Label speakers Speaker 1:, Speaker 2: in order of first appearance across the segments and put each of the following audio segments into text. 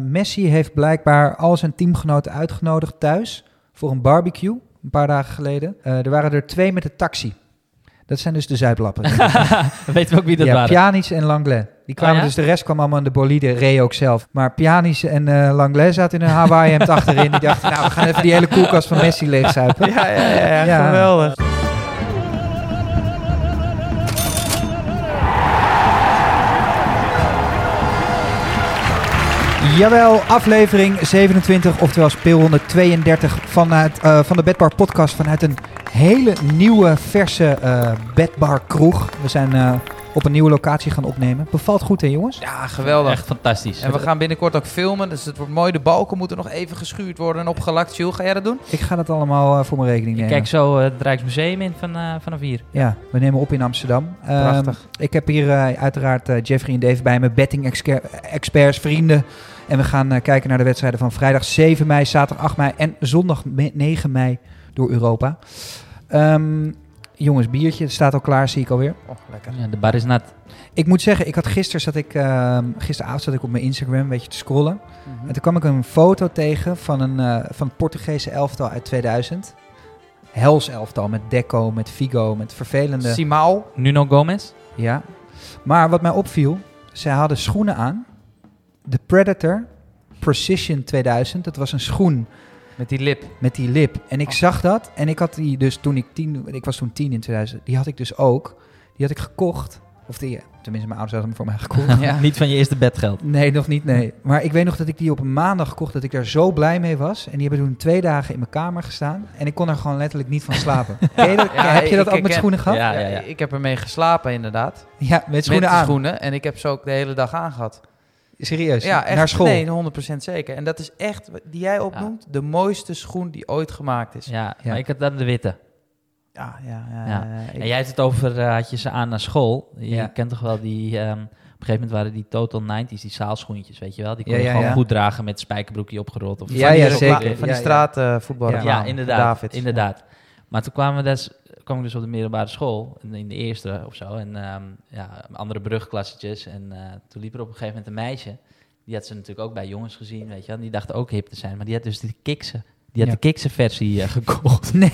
Speaker 1: Messi heeft blijkbaar al zijn teamgenoten uitgenodigd thuis voor een barbecue een paar dagen geleden. Eh, er waren er twee met de taxi. Dat zijn dus de zuiplappen.
Speaker 2: Dan weten we ook wie dat
Speaker 1: ja,
Speaker 2: waren.
Speaker 1: Pjanic en Langlet. Die kwamen
Speaker 2: Oh ja?
Speaker 1: dus, de rest kwam allemaal in de bolide, Ray ook zelf. Maar Pjanic en eh Langlet zaten in een Hawaii-hemd achterin. Die dachten, nou, we gaan even die hele koelkast van Messi leegzuipen.
Speaker 3: Ja, ja, ja,
Speaker 1: Ja.
Speaker 3: geweldig.
Speaker 1: Jawel, aflevering 27, oftewel speel 132 vanuit, eh, van de Bedbar podcast vanuit een hele nieuwe, verse eh Bedbar kroeg. We zijn eh, op een nieuwe locatie gaan opnemen. Bevalt goed hè jongens?
Speaker 3: Ja, geweldig.
Speaker 2: Echt fantastisch.
Speaker 3: En we gaan binnenkort ook filmen, dus het wordt mooi. De balken moeten nog even geschuurd worden en opgelakt. Jules, ga jij dat doen?
Speaker 1: Ik ga dat allemaal eh, voor mijn rekening
Speaker 2: Ik
Speaker 1: nemen.
Speaker 2: kijk zo eh, het Rijksmuseum in van, eh, vanaf hier.
Speaker 1: Ja, we nemen op in Amsterdam. Ehm,
Speaker 3: Prachtig.
Speaker 1: ik heb hier eh, uiteraard eh, Jeffrey en Dave bij me, betting exca- experts, vrienden. En we gaan eh, kijken naar de wedstrijden van vrijdag 7 mei, zaterdag 8 mei en zondag me- 9 mei door Europa. Ehm, jongens, biertje het staat al klaar, zie ik alweer.
Speaker 3: Oh, lekker.
Speaker 2: Ja, de bar is nat.
Speaker 1: Ik moet zeggen, ik had gisteren zat ik, ehm, gisteravond zat ik op mijn Instagram een beetje te scrollen.
Speaker 3: Mhm.
Speaker 1: En toen kwam ik een foto tegen van een eh, van het Portugese elftal uit 2000. Hels elftal met Deco, met Figo, met vervelende...
Speaker 3: Simao.
Speaker 2: Nuno Gomez.
Speaker 1: Ja. Maar wat mij opviel, zij hadden schoenen aan. De Predator Precision 2000, dat was een schoen
Speaker 3: Met die lip.
Speaker 1: met die lip. En ik
Speaker 3: Oh.
Speaker 1: zag dat en ik had die dus toen ik tien, ik was toen tien in 2000, die had ik dus ook. Die had ik gekocht. Of die, tenminste mijn ouders hadden hem voor mij gekocht.
Speaker 3: Ja.
Speaker 2: Niet van je eerste bedgeld.
Speaker 1: Nee, nog niet, nee. Maar ik weet nog dat ik die op een maandag kocht, dat ik daar zo blij mee was. En die hebben toen twee dagen in mijn kamer gestaan. En ik kon er gewoon letterlijk niet van slapen. Ken je dat-
Speaker 3: Ja,
Speaker 1: heb je dat ook
Speaker 3: ik
Speaker 1: met
Speaker 3: herken-
Speaker 1: schoenen gehad? Ja,
Speaker 2: Ja, ja, ja.
Speaker 3: Ik heb ermee geslapen, inderdaad.
Speaker 1: met schoenen
Speaker 3: met de
Speaker 1: aan.
Speaker 3: schoenen. En ik heb ze ook de hele dag aangehad.
Speaker 1: Serieus,
Speaker 3: Ja, echt.
Speaker 1: naar school.
Speaker 3: Nee, 100% zeker. En dat is echt, wat- die jij opnoemt, de mooiste schoen die ooit gemaakt is. Ja,
Speaker 2: Ja,
Speaker 1: Ja.
Speaker 2: maar ik had dan de witte.
Speaker 3: ja, ja. ja,
Speaker 2: Ja.
Speaker 3: ja, ik-
Speaker 2: En jij had het over, eh, had je ze aan naar school. Je
Speaker 1: Ja.
Speaker 2: kent toch wel die, ehm, op een gegeven moment waren die Total 90s, die zaalschoentjes, weet je wel? Die kon
Speaker 1: Ja,
Speaker 2: je
Speaker 1: ja,
Speaker 2: gewoon
Speaker 1: ja.
Speaker 2: goed dragen met spijkerbroekje opgerold. Of
Speaker 1: Ja,
Speaker 2: van die
Speaker 1: ja,
Speaker 3: recla-
Speaker 1: zeker.
Speaker 3: Van
Speaker 1: Ja,
Speaker 3: die
Speaker 1: ja.
Speaker 3: straatvoetballer.
Speaker 1: Ja.
Speaker 2: Ja, inderdaad.
Speaker 3: David.
Speaker 2: inderdaad. Maar toen kwamen we des, kwam ik dus op de middelbare school, in- in de eerste of zo, en ehm, ja, andere brugklassetjes. En eh, toen liep er op een gegeven moment een meisje, die had ze natuurlijk ook bij jongens gezien, weet je wel, en die dacht ook hip te zijn, maar die had dus de kiksen. Die had
Speaker 1: Ja.
Speaker 2: de kiksen-versie eh, gekocht.
Speaker 1: Nee,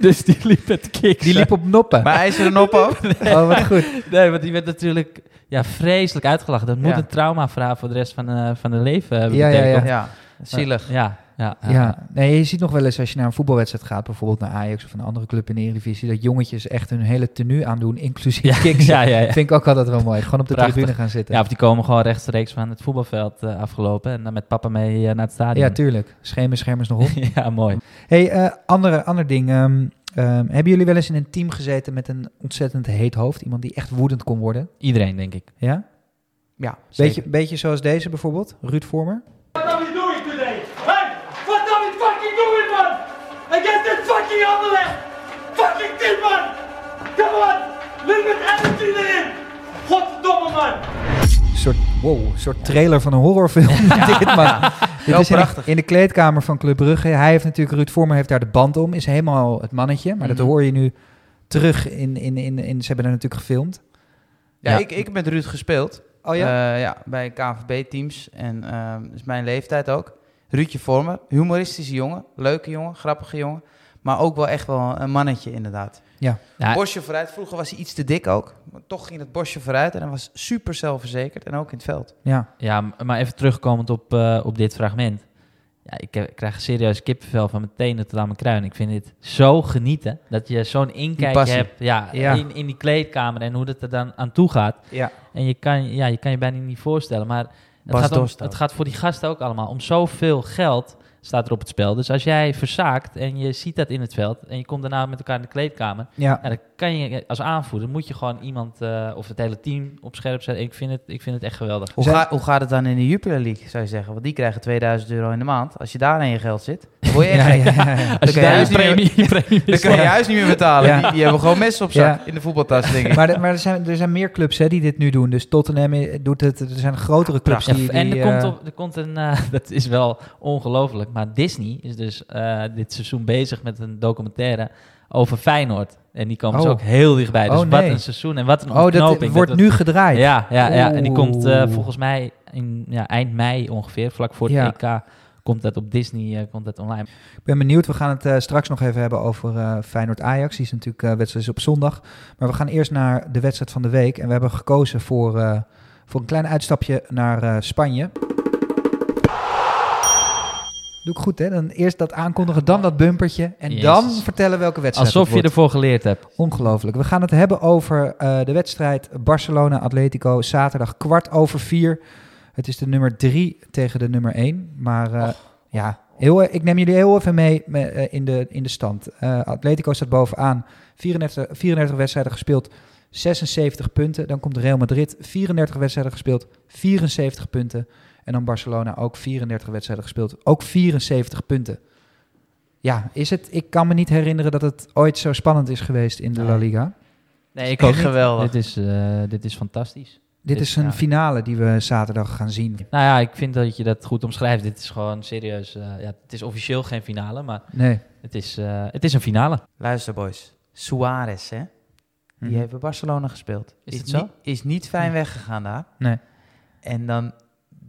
Speaker 2: Dus die liep met kiksen.
Speaker 1: die liep op noppen.
Speaker 3: Maar hij is er een op ook.
Speaker 1: Oh, wat goed.
Speaker 2: Nee, want die werd natuurlijk ja, vreselijk uitgelachen. Dat moet
Speaker 3: Ja.
Speaker 2: een trauma vragen voor de rest van, eh van hun leven hebben
Speaker 1: Ja, ja,
Speaker 2: betekend.
Speaker 3: Ja, zielig.
Speaker 2: Ja, ja, ja.
Speaker 1: Ja, nee, je ziet nog wel eens als je naar een voetbalwedstrijd gaat, bijvoorbeeld naar Ajax of een andere club in de Eredivisie, dat jongetjes echt hun hele tenue aandoen, inclusief
Speaker 2: Ja,
Speaker 1: kicks.
Speaker 2: ja, ja, ja.
Speaker 1: Vind ik ook altijd wel mooi. Gewoon op de
Speaker 2: Prachtig.
Speaker 1: tribune gaan zitten.
Speaker 2: Ja, of die komen gewoon rechtstreeks van het voetbalveld eh, afgelopen en dan met papa mee eh, naar het
Speaker 1: Ja,
Speaker 2: stadion.
Speaker 1: tuurlijk. Schemen, schermers nog op.
Speaker 2: ja, mooi.
Speaker 1: hey, eh, andere, ander ding. ehm, ehm, hebben jullie wel eens in een team gezeten met een ontzettend heet hoofd? Iemand die echt woedend kon worden?
Speaker 2: Iedereen, denk ik.
Speaker 1: Ja?
Speaker 3: Ja,
Speaker 1: Beetje, beetje zoals deze bijvoorbeeld, Ruud Vormer.
Speaker 4: What are we doing today? Hey! What are we fucking doing, man? Against that fucking Anderlecht! Fucking team, man! Come on! Little bit energy erin! Godverdomme, man!
Speaker 1: Een soort, wow, een soort trailer van een horrorfilm. dit, man. Dit
Speaker 3: Wel
Speaker 1: is in, de,
Speaker 3: prachtig.
Speaker 1: in de kleedkamer van Club Brugge. Hij heeft natuurlijk, Ruud Vormer heeft daar de band om. Is helemaal het mannetje. Maar dat
Speaker 2: Mhm.
Speaker 1: hoor je nu terug in, in, in, in... Ze hebben daar natuurlijk gefilmd.
Speaker 3: Ja,
Speaker 2: Ja.
Speaker 3: Ik, ik heb met Ruud gespeeld.
Speaker 1: Oh ja?
Speaker 3: Eh, ja, bij KNVB-teams. En ehm dat is mijn leeftijd ook. Ruudje Vormer, humoristische jongen. Leuke jongen, grappige jongen. Maar ook wel echt wel een mannetje, inderdaad.
Speaker 2: Ja,
Speaker 3: Bosje vooruit. Vroeger was hij iets te dik ook. Maar toch ging het bosje vooruit. En hij was super zelfverzekerd. En ook in het veld.
Speaker 1: ja.
Speaker 2: ja, m- maar even terugkomend op, eh, op dit fragment. Ja, ik, heb- ik krijg serieus kippenvel van mijn tenen tot aan mijn kruin. Ik vind dit zo genieten. Dat je zo'n inkijk
Speaker 3: passie.
Speaker 2: hebt ja,
Speaker 1: Ja.
Speaker 2: In, in die kleedkamer en hoe dat er dan aan toe gaat.
Speaker 1: Ja.
Speaker 2: En je kan, ja, je kan je bijna niet voorstellen. Maar het
Speaker 3: Bas
Speaker 2: gaat, om,
Speaker 3: Dost ook.
Speaker 2: het gaat voor die gasten ook allemaal om zoveel geld staat er op het spel. Dus als jij verzaakt en je ziet dat in het veld en je komt daarna met elkaar in de kleedkamer,
Speaker 1: ja.
Speaker 2: ja, dan kan je als aanvoerder moet je gewoon iemand eh, of het hele team op scherp zetten. Ik vind het, ik vind het echt geweldig.
Speaker 3: Hoe,
Speaker 1: Zijn-
Speaker 3: ga- hoe gaat het dan in de Jupiler League, zou je zeggen? Want die krijgen 2000 euro in de maand. Als je daar aan je geld zit, word je echt
Speaker 1: Ja,
Speaker 3: gek.
Speaker 1: ja, ja, ja.
Speaker 2: Als je daar
Speaker 3: Dan kan je
Speaker 2: je
Speaker 3: huis niet
Speaker 2: premie, je premie
Speaker 3: Dan kun je je huis niet meer betalen.
Speaker 1: Ja.
Speaker 3: Die, die hebben gewoon messen op zak
Speaker 1: Ja.
Speaker 3: in de voetbaltas, denk ik.
Speaker 1: Maar, de- maar er, zijn, er zijn meer clubs hè, die dit nu doen. Dus Tottenham eh, doet het. Er zijn grotere clubs
Speaker 2: Ja,
Speaker 1: die...
Speaker 2: en
Speaker 1: die,
Speaker 2: er komt,
Speaker 1: eh,
Speaker 2: op, er komt een, eh, dat is wel ongelooflijk, maar Disney is dus eh, dit seizoen bezig met een documentaire over Feyenoord. En die komen dus
Speaker 1: Oh.
Speaker 2: ook heel dichtbij. Dus
Speaker 1: Oh,
Speaker 2: wat
Speaker 1: nee.
Speaker 2: een seizoen en wat een
Speaker 1: Oh, dat
Speaker 2: ontknoping.
Speaker 1: eh, wordt
Speaker 2: Dat-
Speaker 1: nu gedraaid.
Speaker 2: Ja, ja, ja, en die komt eh,
Speaker 1: Oeh.
Speaker 2: volgens mij in, ja, eind mei ongeveer, vlak voor het
Speaker 1: Ja.
Speaker 2: EK, komt dat op Disney, eh, komt dat online.
Speaker 1: Ik ben benieuwd. We gaan het eh, straks nog even hebben over eh, Feyenoord-Ajax. Die is natuurlijk eh, wedstrijd is op zondag. Maar we gaan eerst naar de wedstrijd van de week. En we hebben gekozen voor, eh, voor een klein uitstapje naar eh, Spanje. Doe ik goed, hè? Dan eerst dat aankondigen, dan dat bumpertje. En
Speaker 2: Jezus.
Speaker 1: dan vertellen welke wedstrijd
Speaker 2: Alsof
Speaker 1: het
Speaker 2: je
Speaker 1: wordt.
Speaker 2: ervoor geleerd hebt.
Speaker 1: Ongelooflijk. We gaan het hebben over eh, de wedstrijd Barcelona-Atletico. Zaterdag kwart over vier. Het is de nummer drie tegen de nummer één. Maar eh, ja, heel, eh, ik neem jullie heel even mee me- eh, in, de, in de stand. Eh, Atletico staat bovenaan. 34, 34 wedstrijden gespeeld, 76 punten. Dan komt Real Madrid, 34 wedstrijden gespeeld, 74 punten. En dan Barcelona ook 34 wedstrijden gespeeld, ook 74 punten. Ja, is het? Ik kan me niet herinneren dat het ooit zo spannend is geweest in de La
Speaker 2: Nee.
Speaker 1: Liga.
Speaker 2: Nee,
Speaker 3: ik ook niet.
Speaker 1: Oh.
Speaker 3: Geweldig.
Speaker 2: Dit is, eh, dit is fantastisch.
Speaker 1: Dit
Speaker 2: Dit-
Speaker 1: is een
Speaker 2: ja.
Speaker 1: finale die we zaterdag gaan zien.
Speaker 2: Nou ja, ik vind dat je dat goed omschrijft. Dit is gewoon serieus. eh, ja, het is officieel geen finale, maar
Speaker 1: Nee.
Speaker 2: het is, eh, het is een finale.
Speaker 3: Luister, boys. Suarez, hè? Die
Speaker 1: Mhm.
Speaker 3: heeft bij Barcelona gespeeld.
Speaker 2: Is dat zo?
Speaker 3: Niet, is niet fijn weggegaan daar.
Speaker 1: Nee.
Speaker 3: En dan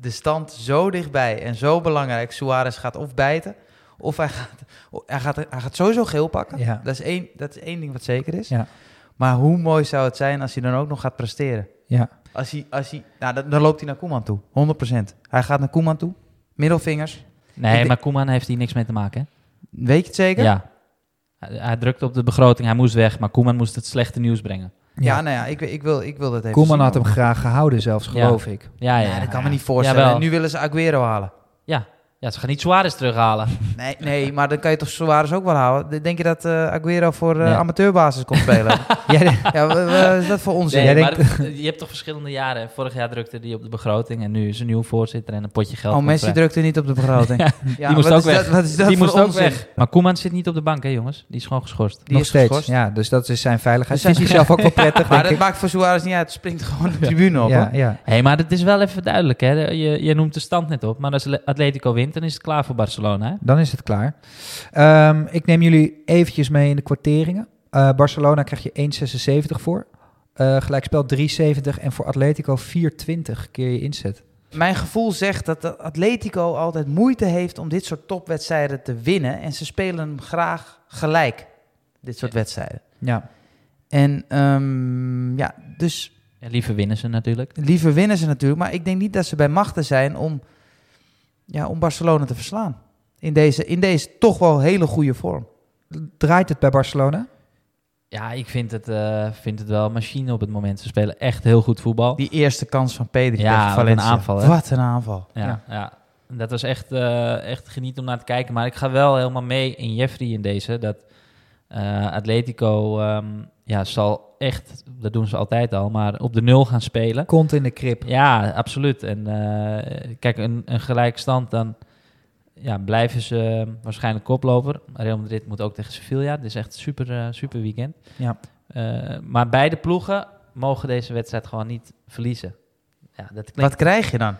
Speaker 3: de stand zo dichtbij en zo belangrijk. Suarez gaat of bijten, of hij gaat, o- hij gaat, hij gaat sowieso geel pakken.
Speaker 1: Ja.
Speaker 3: Dat, is één, dat is één ding wat zeker is.
Speaker 1: Ja.
Speaker 3: Maar hoe mooi zou het zijn als hij dan ook nog gaat presteren?
Speaker 1: Ja.
Speaker 3: Als hij, als hij, nou, dan, dan loopt hij naar Koeman toe, 100%. Hij gaat naar Koeman toe, middelvingers. Ik
Speaker 2: Nee,
Speaker 3: denk-
Speaker 2: maar Koeman heeft hier niks mee te maken. Hè?
Speaker 3: Weet je het zeker?
Speaker 2: Ja. Hij, hij drukte op de begroting, hij moest weg, maar Koeman moest het slechte nieuws brengen.
Speaker 3: Ja,
Speaker 1: Ja.
Speaker 3: nou ja, ik, ik, wil, ik wil dat even
Speaker 1: Koeman
Speaker 3: zien,
Speaker 1: had
Speaker 3: man.
Speaker 1: hem graag gehouden zelfs, geloof ik.
Speaker 2: Ja, ja,
Speaker 3: Ja, dat kan
Speaker 2: ja.
Speaker 3: me niet voorstellen.
Speaker 2: Jawel.
Speaker 3: En nu willen ze Aguero halen.
Speaker 2: Ja. ja, ze gaan niet Suarez terughalen.
Speaker 3: Nee, nee, maar dan kan je toch Suarez ook wel halen. Denk je dat eh, Aguero voor eh,
Speaker 2: Nee.
Speaker 3: amateurbasis komt spelen?
Speaker 1: Jij-
Speaker 3: ja, wa- wa- is dat voor onzin?
Speaker 2: Nee,
Speaker 1: jij
Speaker 2: maar het- je hebt toch verschillende jaren. hè? Vorig jaar drukte die op de begroting en nu is een nieuw voorzitter en een potje geld.
Speaker 3: oh,
Speaker 2: komt
Speaker 3: Messi
Speaker 2: vrij.
Speaker 3: drukte niet op de begroting. ja,
Speaker 2: die moest
Speaker 3: wat
Speaker 2: ook
Speaker 3: is
Speaker 2: weg.
Speaker 3: Dat, wat is dat
Speaker 2: die
Speaker 3: voor
Speaker 2: moest ook
Speaker 3: onzin?
Speaker 2: weg. Maar Koeman zit niet op de bank, hè jongens? Die is gewoon geschorst.
Speaker 3: Die
Speaker 1: nog
Speaker 3: is
Speaker 1: steeds.
Speaker 3: geschorst.
Speaker 1: Ja, dus dat is zijn veiligheid.
Speaker 3: Dus
Speaker 1: Vindt hij zelf ook wel prettig,
Speaker 3: Maar
Speaker 1: denk
Speaker 3: dat
Speaker 1: ik.
Speaker 3: maakt voor Suarez niet uit. Het springt gewoon de tribune op.
Speaker 1: Ja,
Speaker 3: hoor.
Speaker 1: ja.
Speaker 2: Hé, hey, maar het is wel even duidelijk, hè? Je, je noemt de stand net op, maar als Le- Atletico wint, dan is het klaar voor Barcelona, hè?
Speaker 1: Dan is het klaar. Ehm, ik neem jullie eventjes mee in de kwarteringen. Eh, Barcelona krijg je 1,76 voor. Eh, gelijkspel 3,70 en voor Atletico 4,20 keer je inzet.
Speaker 3: Mijn gevoel zegt dat de Atletico altijd moeite heeft om dit soort topwedstrijden te winnen. En ze spelen hem graag gelijk, dit soort wedstrijden.
Speaker 1: Ja,
Speaker 3: En ehm, ja, dus
Speaker 2: En liever winnen ze natuurlijk.
Speaker 3: Liever winnen ze natuurlijk, maar ik denk niet dat ze bij machten zijn om, ja, om Barcelona te verslaan. In deze, in deze toch wel hele goede vorm.
Speaker 1: draait het bij Barcelona?
Speaker 2: Ja, ik vind het, eh, vind het wel een machine op het moment. Ze spelen echt heel goed voetbal.
Speaker 3: Die eerste kans van Pedri
Speaker 2: Ja,
Speaker 3: tegen
Speaker 2: wat een
Speaker 3: Valencia.
Speaker 2: aanval, hè?
Speaker 3: Wat een aanval.
Speaker 2: ja,
Speaker 1: ja.
Speaker 2: ja. dat was echt, eh, echt geniet om naar te kijken. Maar ik ga wel helemaal mee in Jeffrey in deze. Dat eh, Atletico ehm, ja, zal echt, dat doen ze altijd al, maar op de nul gaan spelen.
Speaker 1: Kont in de krip.
Speaker 2: Ja, absoluut. En eh, kijk, een, een gelijkstand, dan ja, blijven ze eh, waarschijnlijk koploper. Real Madrid moet ook tegen Sevilla. Dit is echt een super, eh, super weekend.
Speaker 1: Ja.
Speaker 2: Eh, maar beide ploegen mogen deze wedstrijd gewoon niet verliezen. Ja, dat klinkt
Speaker 3: Wat krijg je dan?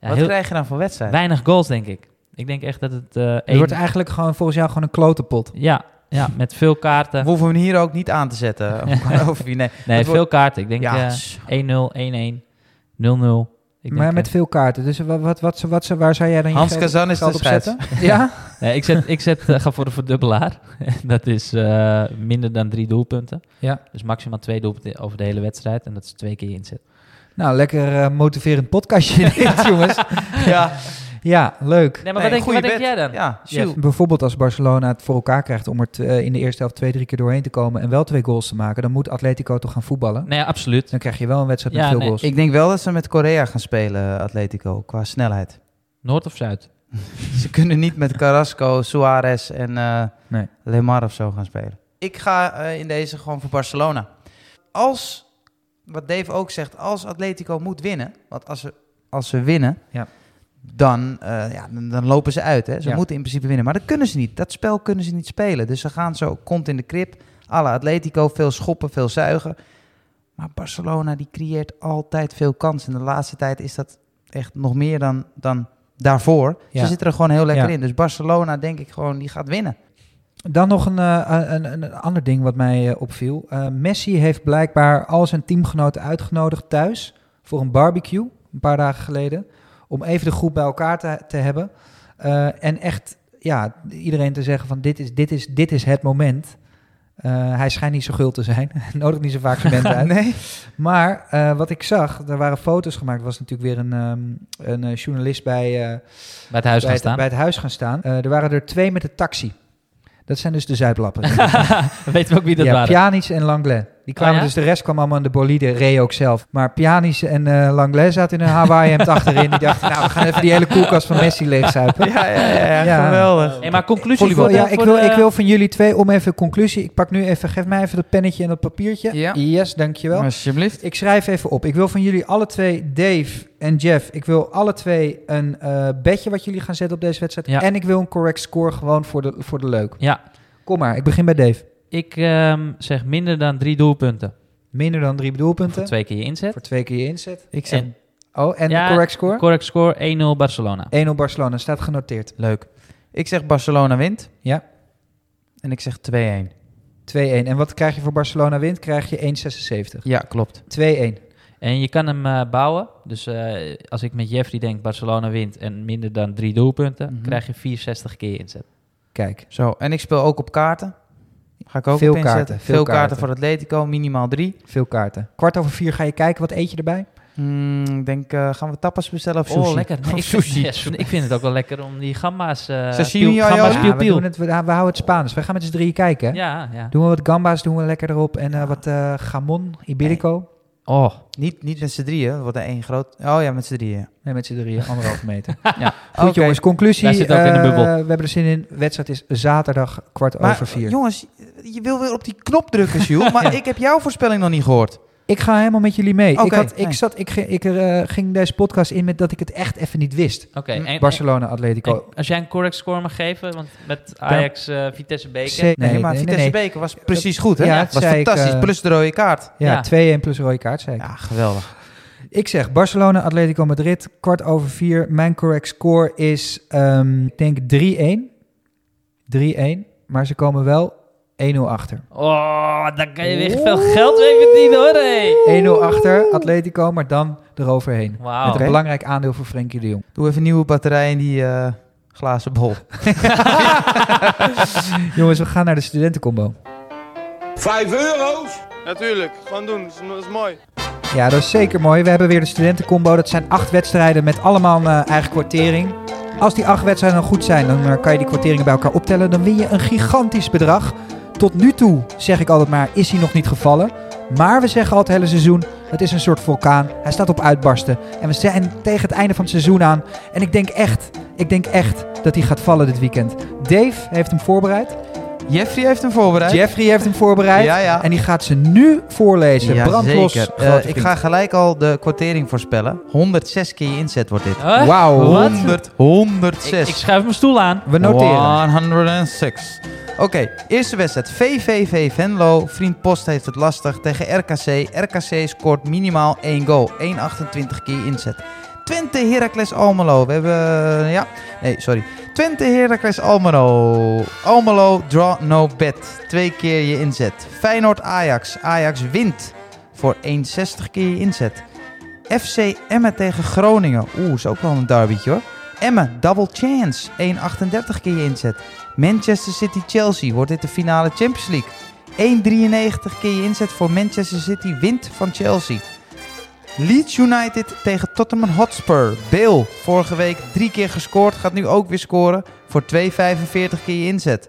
Speaker 2: ja,
Speaker 3: wat
Speaker 2: heel
Speaker 3: krijg je dan voor wedstrijd?
Speaker 2: weinig goals, denk ik. Ik denk echt dat het... eh
Speaker 1: Het
Speaker 2: één-
Speaker 1: wordt eigenlijk gewoon, volgens jou gewoon een klote pot.
Speaker 2: ja, ja, met veel kaarten.
Speaker 3: We hoeven hem hier ook niet aan te zetten. Over wie, nee.
Speaker 2: Nee,
Speaker 3: het
Speaker 2: veel
Speaker 3: wordt-
Speaker 2: kaarten. Ik denk
Speaker 3: Ja,
Speaker 2: eh,
Speaker 3: s-
Speaker 2: 1-0, 1-1, 0-0. Ik
Speaker 1: Maar
Speaker 2: denk,
Speaker 1: met
Speaker 2: eh,
Speaker 1: veel kaarten. Dus wat, wat, wat, wat, waar zou jij dan je
Speaker 3: Hans
Speaker 1: geld-
Speaker 3: Kazan is
Speaker 1: geld
Speaker 3: de
Speaker 1: op zetten? Ja?
Speaker 2: Nee, ik zet, ik zet, eh, ga voor de verdubbelaar. dat is eh, minder dan drie doelpunten.
Speaker 1: Ja.
Speaker 2: Dus maximaal twee doelpunten over de hele wedstrijd. En dat is twee keer je inzet.
Speaker 1: Nou, lekker eh, motiverend podcastje dit, jongens.
Speaker 3: ja.
Speaker 1: Ja, leuk.
Speaker 2: Nee, maar
Speaker 3: Nee,
Speaker 2: wat, denk,
Speaker 3: goeie
Speaker 2: wat denk
Speaker 3: bet.
Speaker 2: jij dan?
Speaker 3: Ja, Jules.
Speaker 1: Bijvoorbeeld als Barcelona het voor elkaar krijgt om er t- eh, in de eerste helft twee, drie keer doorheen te komen en wel twee goals te maken, dan moet Atletico toch gaan voetballen.
Speaker 2: Nee, absoluut.
Speaker 1: Dan krijg je wel een wedstrijd met
Speaker 2: Ja,
Speaker 1: veel
Speaker 2: nee,
Speaker 1: goals.
Speaker 3: Ik denk wel dat ze met Korea gaan spelen, Atletico, qua snelheid.
Speaker 2: Noord of Zuid?
Speaker 3: Ze kunnen niet met Carrasco, Suarez en eh
Speaker 1: Nee.
Speaker 3: Lemar of zo gaan spelen. Ik ga eh, in deze gewoon voor Barcelona. Als, wat Dave ook zegt, als Atletico moet winnen, want als ze, als ze winnen,
Speaker 1: Ja.
Speaker 3: dan, eh, ja, dan, dan lopen ze uit. Hè. Ze
Speaker 1: Ja.
Speaker 3: moeten in principe winnen. Maar dat kunnen ze niet. Dat spel kunnen ze niet spelen. Dus ze gaan zo kont in de krip. Alle Atletico, veel schoppen, veel zuigen. Maar Barcelona die creëert altijd veel kansen. De laatste tijd is dat echt nog meer dan, dan daarvoor.
Speaker 1: Ja.
Speaker 3: Ze zitten er gewoon heel lekker
Speaker 1: Ja.
Speaker 3: in. Dus Barcelona denk ik gewoon, die gaat winnen.
Speaker 1: Dan nog een, eh, een, een, een ander ding wat mij eh, opviel. Eh, Messi heeft blijkbaar al zijn teamgenoten uitgenodigd thuis voor een barbecue een paar dagen geleden. Om even de groep bij elkaar te, te hebben. Eh, en echt ja, iedereen te zeggen van dit is, dit is, dit is het moment. Eh, hij schijnt niet zo gul te zijn. Hij Nodigt niet zo vaak zijn mensen uit.
Speaker 3: Nee.
Speaker 1: Maar eh, wat ik zag, er waren foto's gemaakt. Er was natuurlijk weer een, ehm, een eh, journalist bij, eh,
Speaker 2: Bij het
Speaker 1: bij,
Speaker 2: huis gaan
Speaker 1: het,
Speaker 2: staan.
Speaker 1: bij het huis gaan staan. Eh, er waren er twee met de taxi. Dat zijn dus de zuiplappen.
Speaker 2: Dan weten we ook wie dat
Speaker 1: ja,
Speaker 2: waren.
Speaker 1: Pjanic en Langlais. Die kwamen
Speaker 2: Oh ja?
Speaker 1: dus, de rest kwam allemaal in de bolide, Ray ook zelf. Maar Pjanic en eh Langlais zaten in een Hawaii-hemd achterin. Die dachten, nou, we gaan even die hele koelkast van Messi leegzuipen.
Speaker 3: Ja, ja, ja,
Speaker 1: Ja.
Speaker 3: geweldig.
Speaker 2: Hey, maar conclusie
Speaker 1: Ik wil,
Speaker 2: voor,
Speaker 1: ja,
Speaker 2: de,
Speaker 1: ik,
Speaker 2: voor
Speaker 1: wil,
Speaker 2: de-
Speaker 1: ik wil van jullie twee om even conclusie. Ik pak nu even, geef mij even dat pennetje en dat papiertje.
Speaker 3: Ja.
Speaker 1: Yes, dankjewel.
Speaker 3: Alsjeblieft.
Speaker 1: Ik schrijf even op. Ik wil van jullie alle twee, Dave en Jeff, ik wil alle twee een eh bedje wat jullie gaan zetten op deze wedstrijd.
Speaker 2: Ja.
Speaker 1: En ik wil een correct score gewoon voor de, voor de leuk.
Speaker 2: Ja,
Speaker 1: Kom maar, ik begin bij Dave.
Speaker 2: ik ehm, zeg minder dan drie doelpunten.
Speaker 1: Minder dan drie doelpunten.
Speaker 2: Voor twee keer je inzet.
Speaker 1: Voor twee keer je inzet.
Speaker 3: Ik zeg,
Speaker 2: En-
Speaker 1: Oh, en
Speaker 2: Ja,
Speaker 1: de correct score?
Speaker 2: Correct score 1-0 Barcelona.
Speaker 1: 1-0 Barcelona, staat genoteerd.
Speaker 3: leuk. Ik zeg Barcelona wint.
Speaker 1: Ja.
Speaker 3: En ik zeg 2-1.
Speaker 1: 2-1. En wat krijg je voor Barcelona wint? Krijg je 1,76.
Speaker 3: Ja, klopt.
Speaker 1: 2-1.
Speaker 2: En je kan hem eh, bouwen. Dus eh, als ik met Jeffrey denk Barcelona wint en minder dan drie doelpunten,
Speaker 3: Mhm.
Speaker 2: krijg je 64 keer inzet.
Speaker 1: Kijk.
Speaker 3: Zo, en ik speel ook op kaarten. Ga ik ook
Speaker 1: Veel
Speaker 3: op inzetten.
Speaker 1: kaarten,
Speaker 3: veel
Speaker 1: veel
Speaker 3: kaarten.
Speaker 1: kaarten.
Speaker 3: voor Atletico, minimaal drie.
Speaker 1: Veel kaarten. Kwart over vier ga je kijken. Wat eet je erbij?
Speaker 3: Hmm, ik denk, eh, gaan we tapas bestellen of sushi?
Speaker 2: Oh, lekker. Nee,
Speaker 3: Of
Speaker 2: ik,
Speaker 3: sushi.
Speaker 2: Vind, ja, su- ik vind het ook wel lekker om die gamba's... eh
Speaker 3: Sashimi
Speaker 2: piel-
Speaker 3: aioli?
Speaker 2: gamba's
Speaker 3: Ja,
Speaker 2: piel
Speaker 1: we,
Speaker 2: piel.
Speaker 1: doen het, we, we houden het Spaans. We gaan met z'n drieën kijken. hè?
Speaker 2: Ja, ja.
Speaker 1: Doen we wat gambas, doen we lekker erop. En
Speaker 2: Ah.
Speaker 1: eh, wat eh gamon, iberico.
Speaker 2: Oh,
Speaker 3: Niet, niet met z'n drieën, wat één groot... Oh ja, met z'n drieën.
Speaker 1: Nee, met z'n drieën, anderhalve meter.
Speaker 3: Ja.
Speaker 1: Goed
Speaker 3: Oké.
Speaker 1: jongens, conclusie.
Speaker 2: Wij zitten ook in de
Speaker 1: eh,
Speaker 2: bubbel.
Speaker 1: we hebben er zin in. Wedstrijd is zaterdag kwart
Speaker 3: Maar
Speaker 1: over vier.
Speaker 3: jongens, je wil weer op die knop drukken, Jules. Maar ik heb jouw voorspelling nog niet gehoord.
Speaker 1: Ik ga helemaal met jullie mee. ik,
Speaker 3: Oké,
Speaker 1: had, ik,
Speaker 3: nee.
Speaker 1: zat, ik, ge- ik eh, ging deze podcast in met dat ik het echt even niet wist.
Speaker 2: oké.
Speaker 3: Hm,
Speaker 2: En-
Speaker 1: Barcelona, Atletico.
Speaker 2: en Als jij een correct score mag geven, want met Ajax, eh, Vitesse, Beker...
Speaker 1: Nee,
Speaker 3: Nee, maar
Speaker 1: nee,
Speaker 3: Vitesse
Speaker 1: nee.
Speaker 3: Beker was precies goed, hè?
Speaker 1: Ja,
Speaker 3: was
Speaker 1: dat zei ik,
Speaker 3: fantastisch.
Speaker 1: eh,
Speaker 3: Plus de rode kaart.
Speaker 1: Ja,
Speaker 2: Ja.
Speaker 1: 2-1 plus rode kaart zeker.
Speaker 3: Ja, geweldig.
Speaker 1: Ik zeg Barcelona, Atletico Madrid, kwart over vier. Mijn correct score is, ehm, ik denk 3-1. 3-1, maar ze komen wel 1-0 achter.
Speaker 2: Oh, dan kan je weer veel geld mee verdienen hoor. Hey.
Speaker 1: 1-0 achter, Atletico, maar dan eroverheen.
Speaker 2: Wauw.
Speaker 1: Met een
Speaker 3: Oké.
Speaker 1: belangrijk aandeel voor Frenkie de Jong.
Speaker 3: Doe even nieuwe batterij in die eh, glazen bol.
Speaker 1: Jongens, we gaan naar de studentencombo.
Speaker 5: Vijf euro's? Natuurlijk, gewoon doen, dat is, dat is mooi.
Speaker 1: Ja, dat is zeker mooi. We hebben weer de studentencombo. Dat zijn acht wedstrijden met allemaal een eh, eigen kwartering. Als die acht wedstrijden dan goed zijn, dan eh, kan je die kwarteringen bij elkaar optellen. Dan win je een gigantisch bedrag. Tot nu toe, zeg ik altijd maar, is hij nog niet gevallen. Maar we zeggen al het hele seizoen, het is een soort vulkaan. Hij staat op uitbarsten. En we zijn tegen het einde van het seizoen aan. En ik denk echt, ik denk echt dat hij gaat vallen dit weekend. Dave heeft hem voorbereid.
Speaker 3: Jeffrey heeft hem voorbereid.
Speaker 1: Jeffrey heeft hem voorbereid.
Speaker 3: Ja, ja.
Speaker 1: En die gaat ze nu voorlezen.
Speaker 3: Ja,
Speaker 1: Brandlos,
Speaker 3: zeker. Eh,
Speaker 1: grote
Speaker 3: ik
Speaker 1: vriend.
Speaker 3: ga gelijk al de kwartering voorspellen. 106 keer je inzet wordt dit.
Speaker 2: Huh?
Speaker 1: Wauw.
Speaker 2: Wat?
Speaker 3: 100,
Speaker 2: Ik,
Speaker 3: 106.
Speaker 2: ik schuif mijn stoel aan.
Speaker 1: We noteren.
Speaker 3: 106. Oké, eerste wedstrijd. VVV Venlo. Vriend Post heeft het lastig tegen RKC. RKC scoort minimaal 1 goal. 1,28 keer inzet. Twente Heracles Almelo. We hebben... eh, Ja, nee, sorry. Twente Heracles Almelo. Almelo, draw no bet. Twee keer je inzet. Feyenoord Ajax. Ajax wint voor 1,60 keer je inzet. FC Emmen tegen Groningen. Oeh, is ook wel een derbytje hoor. Emmen, double chance. 1,38 keer je inzet. Manchester City Chelsea. Wordt dit de finale Champions League? 1,93 keer je inzet voor Manchester City wint van Chelsea. Leeds United tegen Tottenham Hotspur. Bale, vorige week drie keer gescoord, gaat nu ook weer scoren voor 2,45 keer je inzet.